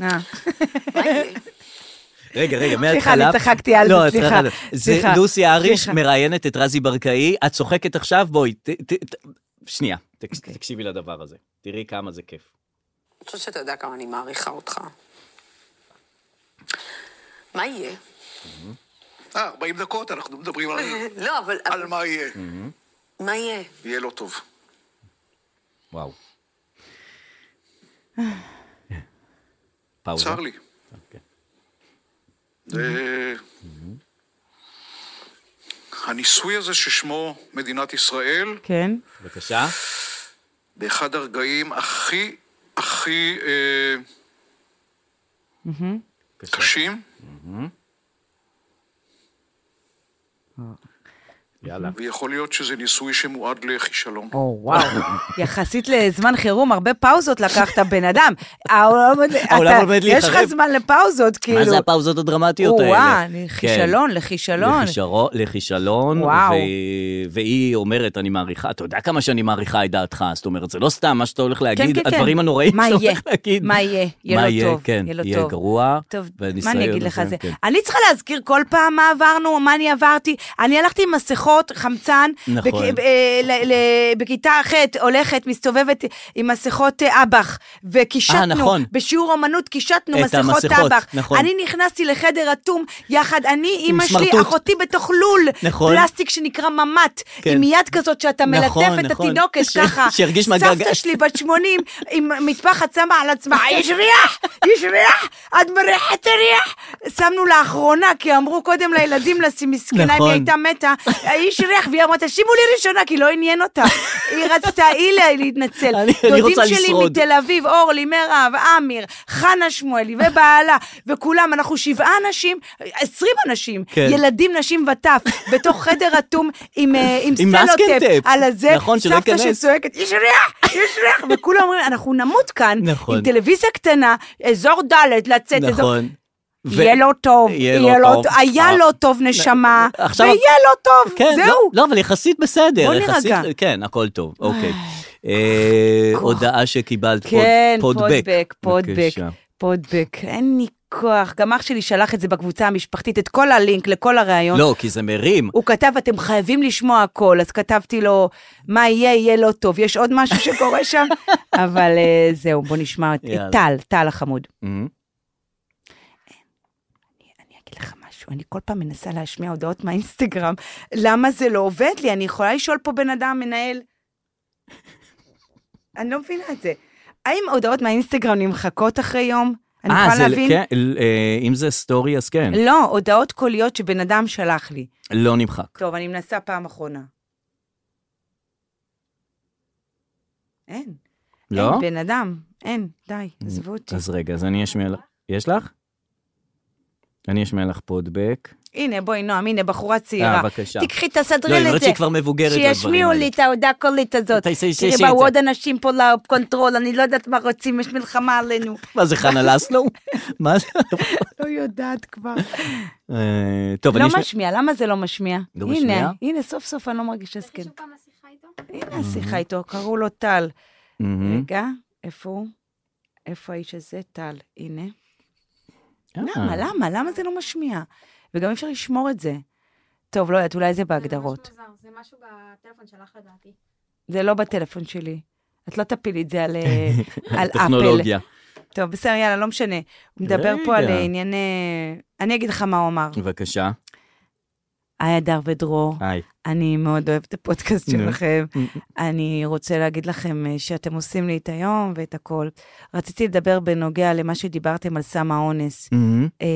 אה,
מה יהיה?
רגע, רגע, מההתחלה...
סליחה, אני צחקתי על
לא,
זה,
את
סליחה,
צריכה לדעת. זה
סליחה.
לוסי אהריש
סליחה.
מראיינת את רזי ברקאי, את צוחקת עכשיו, בואי, ת- ת- ת- שנייה, ת-
אוקיי.
תקשיבי לדבר הזה, תראי כמה זה כיף.
אני חושבת שאתה יודע כמה אני מעריכה אותך. מה יהיה?
אה, 40 דקות, אנחנו מדברים על,
לא, אבל...
על מה יהיה.
Mm.
מה יהיה?
יהיה לא טוב.
וואו.
אה.
פאוזה.
צר לי.
אוקיי.
זה... הניסוי הזה ששמו מדינת ישראל,
כן.
בבקשה.
באחד הרגעים הכי הכי אה,
Mm-hmm. בבקשה.
קשים,
Mm-hmm. יאללה.
ויכול להיות שזה ניסוי שמועד לכישלון.
או וואו. יחסית לזמן חירום, הרבה פאוזות לקחת, בן אדם. העולם עומד-
העולם
אתה-
עומד
יש לך
להיחרב.
זמן לפאוזות, כאילו.
מה זה הפאוזות הדרמטיות האלה?
או-אה,
כן.
לכישלון, לכישלון.
לכישרו- לכישלון,
וואו.
ו- והיא אומרת, אני מעריכה, אתה יודע כמה שאני מעריכה את דעתך, זאת אומרת, זה לא סתם מה שאתה הולך להגיד,
כן, כן.
הדברים הנוראים
מה
שאתה
יהיה?
הולך להגיד.
מה יהיה? יהיה
מה
לא
יהיה,
טוב,
כן,
יהיה לא
יהיה
טוב.
גרוע.
טוב, מה
והניסיון
אני אגיד לך
הזה,
זה? אה,
כן.
אני צריכה להזכיר כל פעם מה עברנו, מה אני עברתי. אני הלכתי עם מסכות, חמצן,
נכון.
בכ- אה, ל- ל- בכיתה ח' הולכת, מסתובבת עם מסכות אה, אב"ח,
אה,
וקישטנו,
נכון.
בשיעור אמנות קישטנו
את
מסכות
המסכות,
אב"ח.
נכון.
אני נכנסתי לחדר אטום, יחד, אני, אימא שלי,
סמרטוט.
אחותי בתוך לול,
נכון.
פלסטיק שנקרא ממ"ט,
כן.
עם יד כזאת שאתה
נכון,
מלטף את
נכון.
התינוקת
ש-
ככה.
שירגיש מהגעגע-
סבתא שלי בת 80, עם מטפחת שמה על עצמה, יש ריח, יש ריח, את מריחת ריח. שמנו לאחרונה, כי אמרו קודם לילדים לשים מסכנה, אם
נכון.
היא הייתה מתה, יש ריח, והיא אמרה, תשימו לי ראשונה, כי לא עניין אותה. היא רצתה, היא לה- להתנצל.
אני- אני
דודים
רוצה
שלי
לשרוד.
מתל אביב, אורלי, מירב, עמיר, חנה שמואלי ובעלה, וכולם, אנחנו שבעה אנשים, עשרים אנשים,
כן.
ילדים, נשים וטף, בתוך חדר אטום עם אה, עם
עם מאסקינג
סלוטפ
טייפ.
על הזה,
נכון, שלא
סבתא
ייכנס.
שצועקת, יש ריח, יש ריח, וכולם אומרים, אנחנו נמות כאן,
נכון.
עם טלוויזיה קטנה, אזור ד' לצאת, אזור...
נכון. ו-
יהיה לא טוב,
יהיה
יהיה
לא
לא
טוב.
טוב, היה
אה.
לא טוב נשמה,
עכשיו-
ויהיה לא טוב,
כן, לא-
זהו.
לא, אבל יחסית בסדר.
בוא
יחסית-
נירגע.
כן, הכל טוב, אוקיי. אה, הודעה שקיבלת, פוד-
כן,
פודבק.
פודבק, פודבק,
בבקשה.
פודבק, אין לי כוח. גם אח שלי שלח את זה בקבוצה המשפחתית, את כל הלינק לכל הראיון.
לא, כי זה מרים.
הוא כתב, אתם חייבים לשמוע הכל, אז כתבתי לו, מה יהיה, יהיה לא טוב. יש עוד משהו שקורה שם? אבל אה, זהו, בוא נשמע את את
יאללה.
טל, טל החמוד.
אמ,
אני אגיד לך משהו, אני כל פעם מנסה להשמיע הודעות מהאינסטגרם, למה זה לא עובד לי? אני יכולה לשאול פה בן אדם, מנהל? אני לא מבינה את זה. האם הודעות מהאינסטגרם נמחקות אחרי יום? אני
אה,
יכולה
זה-
להבין?
כן, ל- אה, אם זה סטורי, אז כן.
לא, הודעות קוליות שבן אדם שלח לי.
לא נמחק.
טוב, אני מנסה פעם אחרונה. אין.
לא? Mm,
אין, בן אדם. אין, די, עזבו אותי.
אז רגע, אז אני אשמיע לך. יש לך? אני אשמיע לך פודבק.
הנה, בואי, נועם, הנה, בחורה צעירה.
אה, בבקשה.
תיקחי,
לא,
תסדרי
היא
לי את
אומרת
זה.
שהיא כבר מבוגרת לדברים האלה.
שישמיעו לי את ההודעה הקולית
ת-
הזאת.
ת- ת-
תראי,
תשאי את
באו
זה.
עוד אנשים פה לקונטרול, אני לא יודעת מה רוצים, יש מלחמה עלינו.
מה זה, חנה לסלו? מה זה?
לא יודעת כבר.
אה, טוב, אני
לא
אשמיע...
משמיע, למה זה לא משמיע?
לא משמיע?
הנה, הנה, סוף סוף אני לא מרגישה סקנט. הנה
Mm-hmm.
השיחה איתו, קראו לו טל.
מהמם.
רגע, איפה הוא? איפה האיש הזה? טל, הנה.
אה,
למה, למה, למה זה לא משמיע? וגם אי אפשר לשמור את זה. טוב, לא יודעת, אולי זה בהגדרות.
זה ממש מוזר, זה משהו בטלפון שלך לדעתי.
זה לא בטלפון שלי. את לא תפילי את זה על, אה, על אפל.
טכנולוגיה.
טוב, בסדר, יאללה, לא משנה. הוא מדבר פה על
רגע.
אה, ענייני... אני אגיד לך מה הוא אמר.
בבקשה.
היי, הדר ודרור,
היי.
אני מאוד אוהב את הפודקאסט
נו.
שלכם. אני רוצה להגיד לכם אה, שאתם עושים לי את היום ואת הכל. רציתי לדבר בנוגע למה שדיברתם על סם האונס.
מהמם,
אה,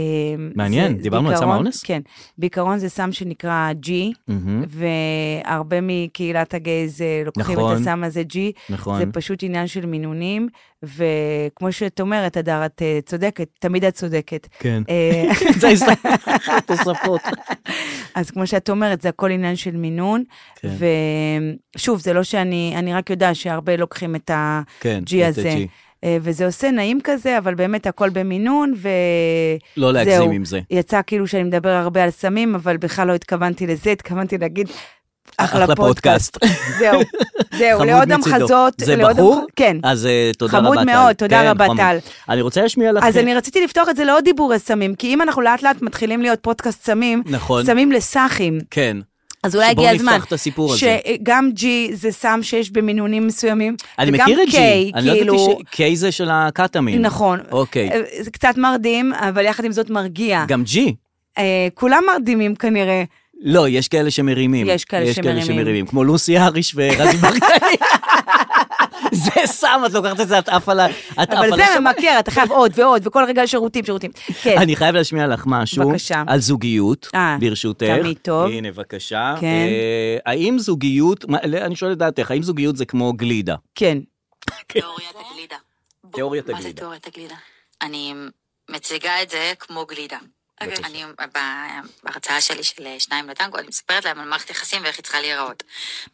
מעניין,
זה-
דיברנו על סם
בעיקרון-
האונס?
כן. בעיקרון זה סם שנקרא G,
מהמם,
והרבה מקהילת הגייז אה, לוקחים
נכון.
את הסם הזה G.
נכון.
זה פשוט עניין של מינונים, וכמו שאת אומרת, הדר, את אה, צודקת, תמיד את צודקת.
כן.
אה,
זה ההסתכלות, תוספות.
אז כמו שאת אומרת, זה הכל עניין של מינון.
כן.
ושוב, זה לא שאני, אני רק יודעת שהרבה לוקחים את
כן,
ה-G
את
הזה.
ה-G.
אה, וזה עושה נעים כזה, אבל באמת הכל במינון, ו...
לא להגזים
זהו.
עם זה.
יצא כאילו שאני מדבר הרבה על סמים, אבל בכלל לא התכוונתי לזה, התכוונתי להגיד,
אה, אחלה פודקאסט.
זהו, זהו,
חמוד
לעוד
מצידו.
המחזות.
זה
לעוד
בחור?
המח- כן.
אז אה, תודה רבה, טל.
חמוד מאוד, תודה
כן,
רבה,
חמוד.
טל.
אני רוצה להשמיע לך... אה,
אז אני רציתי לפתוח את זה לעוד דיבורי סמים, כי אם אנחנו לאט לאט מתחילים להיות פודקאסט סמים,
נכון.
סמים לסאחים.
כן.
אז אולי
שבואו
הגיע הזמן.
נפתח את הסיפור הזה.
שגם G זה סם שיש במינונים מסוימים.
אני
וגם
מכיר את
K,
G. אני לא
כאילו,
ידעתי ש... K זה של הקטאמין.
נכון.
אוקיי.
אה, זה קצת מרדים, אבל יחד עם זאת מרגיע.
גם G.
אה, כולם מרדימים כנראה.
לא, יש כאלה שמרימים.
יש כאלה שמרימים.
כמו לוסי אריש ורזי ברקאי. זה סם, את לוקחת את זה, את עפה ל... את עפה
אבל זה
לשמיים.
ממכר, אתה חייב עוד ועוד, וכל רגע יש שירותים, שירותים. כן.
אני חייב להשמיע לך משהו.
בבקשה.
על זוגיות,
אה,
ברשותך.
תמיד טוב.
הנה, בבקשה.
כן.
אה, האם זוגיות, מה- לא, אני שואל את דעתך, האם זוגיות זה כמו גלידה?
כן.
תיאוריית הגלידה.
תיאוריית
מה זה
הגלידה.
תיאוריית הגלידה? אני מציגה את זה כמו גלידה.
בבקשה.
אני, ב- בהרצאה שלי של אה, שניים לטנגו, אני מספרת להם על מערכת יחסים ואיך היא צריכה להיראות.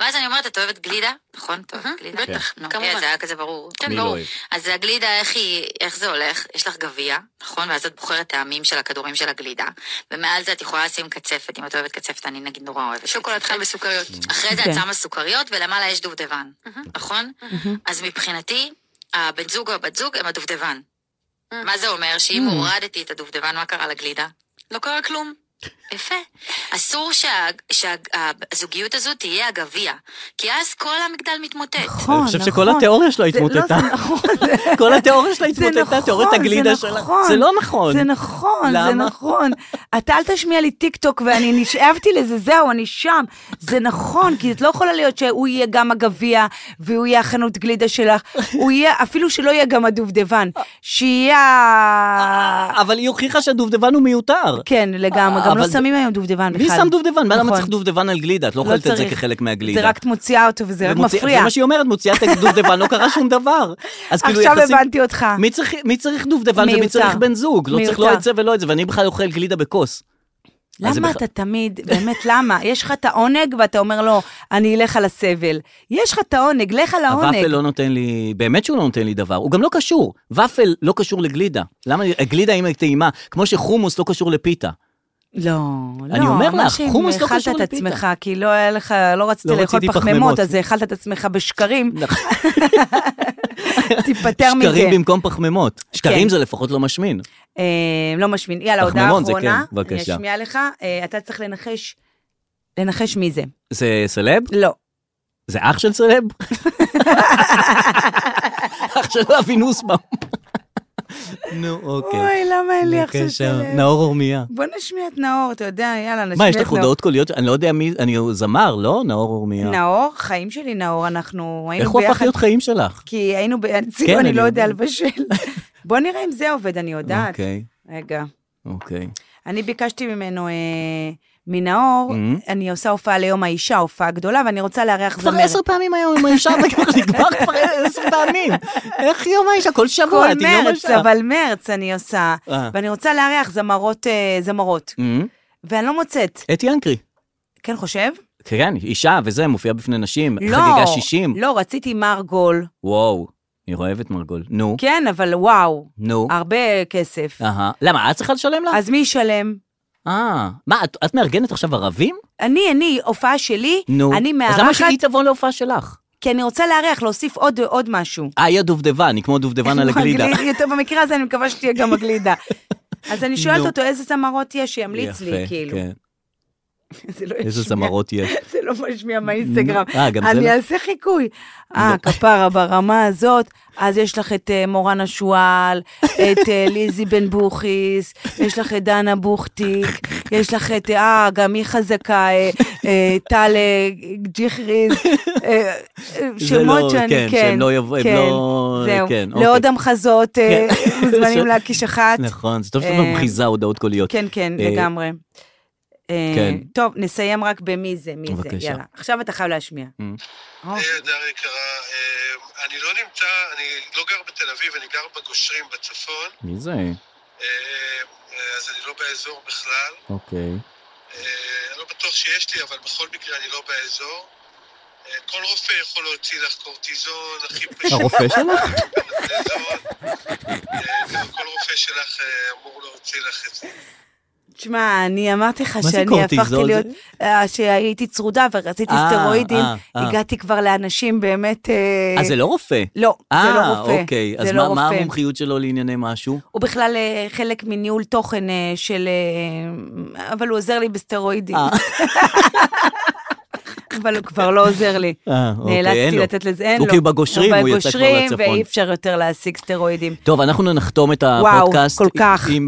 ואז אני אומרת, את אוהבת גלידה? נכון, את אוהבת גלידה?
בטח,
נו,
כמובן.
אה, זה היה כזה ברור.
מי
כן,
לא
ברור.
אוהב?
אז הגלידה, איך היא, איך זה הולך? יש לך גביע, נכון? ואז את בוחרת טעמים של הכדורים של הגלידה, ומעל זה את יכולה לשים קצפת, אם את אוהבת קצפת, אני נגיד נורא אוהבת.
שוקולד
קצפת.
חם וסוכריות.
אחרי זה
כן.
את שמה סוכריות, ולמעלה יש דובדבן, נכון? אז מבחינתי, הבן זוג או הבת זוג הם הדובדבן. מה זה אומר? שאם הורדתי את הדובדבן, מה קרה לגלידה?
לא קרה כלום.
יפה. אסור שהזוגיות הזו תהיה הגביע, כי אז כל המגדל מתמוטט.
נכון,
אני חושב שכל
נכון.
התיאוריה שלו
זה- לא, זה
התמוטטה.
נכון.
כל התיאוריה שלה
זה
התמוטטה, תיאוריית
נכון,
הגלידה
זה
שלה.
נכון.
זה לא נכון.
זה נכון, זה
למה?
נכון. אתה אל תשמיע לי טיק טוק ואני נשאבתי לזה, זהו, אני שם. זה נכון, כי את לא יכולה להיות שהוא יהיה גם הגביע, והוא יהיה החנות גלידה שלך, הוא יהיה, אפילו שלא יהיה גם הדובדבן, שיהיה... ה-
אה, אבל היא הוכיחה שהדובדבן הוא מיותר.
כן, לגמרי, גם
אבל
לא
זה-
שמים היום דובדן
מי
בכלל.
שם דובדבן? מה, למה
נכון.
צריך דובדבן על גלידה? את לא אוכלת את זה
צריך.
כחלק מהגלידה.
זה רק את מוציאה אותו וזה רק
ומוציא-
מפריע.
זה מה שהיא אומרת, מוציאה את הדובדבן, לא קרה שום דבר. אז כאילו
עכשיו
יחסים-
הבנתי אותך.
מי צריך- מי צריך דובדבן
מיותר.
ומי צריך בן זוג? לא צריך לא
מיותר.
את זה ולא את זה, ואני בכלל אוכל גלידה בכוס. אז אה, זה
למה
בכלל-
אתה תמיד, באמת למה? יש לך את העונג ואתה אומר לו, אני אלך על הסבל. יש לך את העונג, לך על העונג.
הוואפל לא נותן לי, באמת שהוא לא נותן לי דבר, הוא גם לא קשור. ופל לא קשור לגלידה. למה, גלידה אם היא טעימה, כמו שחומוס לא קשור לפיתה.
לא, לא.
אני אומר לך,
שאם
חומוס לא קשור
אכלת את
לפיתה.
עצמך, כי לא היה לך, לא רצית
לא
לאכול
רציתי
פחמימות,
פחמימות.
אז אכלת את עצמך בשקרים,
נכון.
תיפטר מזה.
שקרים במקום פחמימות.
כן.
שקרים זה לפחות לא משמין.
אה, לא משמין. יאללה, הודעה
פחמימון זה
אחרונה.
כן, בבקשה.
אני אשמיע לך, אה, אתה צריך לנחש, לנחש מי זה.
זה סלב?
לא.
זה אח של סלב? אח של אבי נוסבאום. נו, אוקיי.
אוי, למה אין לי אח של
בבקשה,
סלב?
נאור אורמיה.
בוא נשמיע את נאור, אתה יודע, יאללה, נשמיע את נאור.
מה, יש לך הודעות קוליות? אני לא יודע מי, אני זמר, לא? נאור אורמיה.
נאור, חיים שלי נאור, אנחנו היינו
איך הוא
ביחד.
הפך להיות חיים שלך?
כי היינו ב... ציון, אני
כן, אני
לא יודע
יודע.
לבשל. בוא נראה אם זה עובד, אני יודעת.
אוקיי,
רגע.
אוקיי.
אני ביקשתי ממנו, אה, מנאור,
Mhm.
אני עושה הופעה ליום האישה, הופעה גדולה, ואני רוצה לארח
כבר
זמרת.
עשר פעמים היום עם האישה, זה כבר נגמר כבר עשר פעמים. איך יום האישה? כל שבוע,
כל
את עם יום
מרץ,
האישה.
אבל מרץ אני עושה.
אה.
ואני רוצה לארח זמרות, אה, זמרות.
אמ,
ואני לא מוצאת.
את ינקרי.
כן חושב?
כן, אישה וזה, מופיעה בפני נשים,
לא.
חגיגה 60.
לא, רציתי מרגול.
וואו, אני אוהב את מרגול. נו,
כן, אבל וואו,
נו.
הרבה כסף.
אהה. למה, את צריכה לשלם לה?
אז מי ישלם?
אה, מה, את- את מארגנת עכשיו ערבים?
אני, אני, הופעה שלי,
נו.
אני
אז למה
מארחת,
שהיא תבוא להופעה שלך?
כי אני רוצה לארח, להוסיף עוד, עוד משהו.
אה, היא הדובדבן, היא כמו דובדבן על
כמו
הגלידה.
הגליד- יותר במקרה הזה אני מקווה שתהיה גם הגלידה. אז אני שואלת
נו.
אותו איזה צמרות יש, שימליץ לי,
יפה,
כאילו.
כן.
זה לא
איזה
ישמיע.
זמרות יש.
זה שלא משמיע מהאינסטגרם.
אה, גם זה לא?
אני אעשה חיקוי. אה, כפרה ברמה הזאת, אז יש לך את אה, מורן השועל, את אה, ליזי בן בוכיס, יש לך את דנה בוכטיק, יש לך את, אה, גם היא חזקה, אה, אה, טל אה, ג'יחריז, אה, אה,
זה לא-
שמות שאני,
כן,
כן,
שהם לא יבואו- הם
כן,
לא-
זהו.
כן, אוקיי.
לעוד המחזות אה,
כן.
מוזמנים להקיש אחת.
נכון, זה טוב שאתה אומר
אה,
מחיזה הודעות קוליות.
כן, כן,
אה,
לגמרי. אה,
כן.
טוב, נסיים רק במי זה, מי זה,
בבקשה. אה.
יאללה. עכשיו אתה חייב להשמיע. אה, או,
היי, אדר יקרה, אה, אני לא נמצא, אני לא גר בתל אביב, אני גר בגושרים בצפון,
כן.
מי זה?
אה, אה, אז אני לא באזור בכלל.
אוקיי.
אה, אני לא בטוח שיש לי, אבל בכל מקרה אני לא באזור. אה, כל רופא יכול להוציא לך קורטיזון, הכי פשוט.
הרופא שלך?
פנדזון. אה, גם כל רופא שלך אה, אמור להוציא לך את זה.
תשמע, אני אמרתי לך
זה
שאני
קורטיזול?
הפכתי
זה-
להיות, אה, שהייתי צרודה ורציתי
אה,
סטרואידים,
אה, אה.
הגעתי כבר לאנשים באמת... אה,
אה, זה לא רופא.
לא, זה לא רופא.
אה, אוקיי, אז
זה
מה-
לא
מה
רופא.
המומחיות שלו לענייני משהו?
הוא בכלל אה, חלק מניהול תוכן אה, של... אה, אבל הוא עוזר לי בסטרואידים.
אה.
אבל הוא כבר לא עוזר לי.
אה, אוקיי, אין
נאלצתי
לו.
לתת לזה, אין
הוא
לו.
כי הוא בגושרים, הוא יצא כבר
בגושרים,
לצפון.
ואי אפשר יותר להשיג סטרואידים.
טוב, אנחנו נחתום את
וואו,
הפודקאסט.
כל כך.
עם-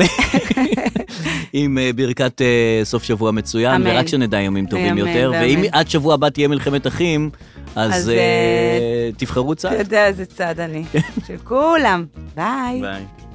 עם אה, ברכת אה, סוף שבוע מצוין,
אמן.
ורק שנדע ימים טובים
אמן
יותר. ואם
ואמן.
עד שבוע הבא תהיה מלחמת אחים, אז
אז,
אה,
אה,
תבחרו צד. כן.
אתה יודע איזה צד אני. של כולם. ביי.
ביי.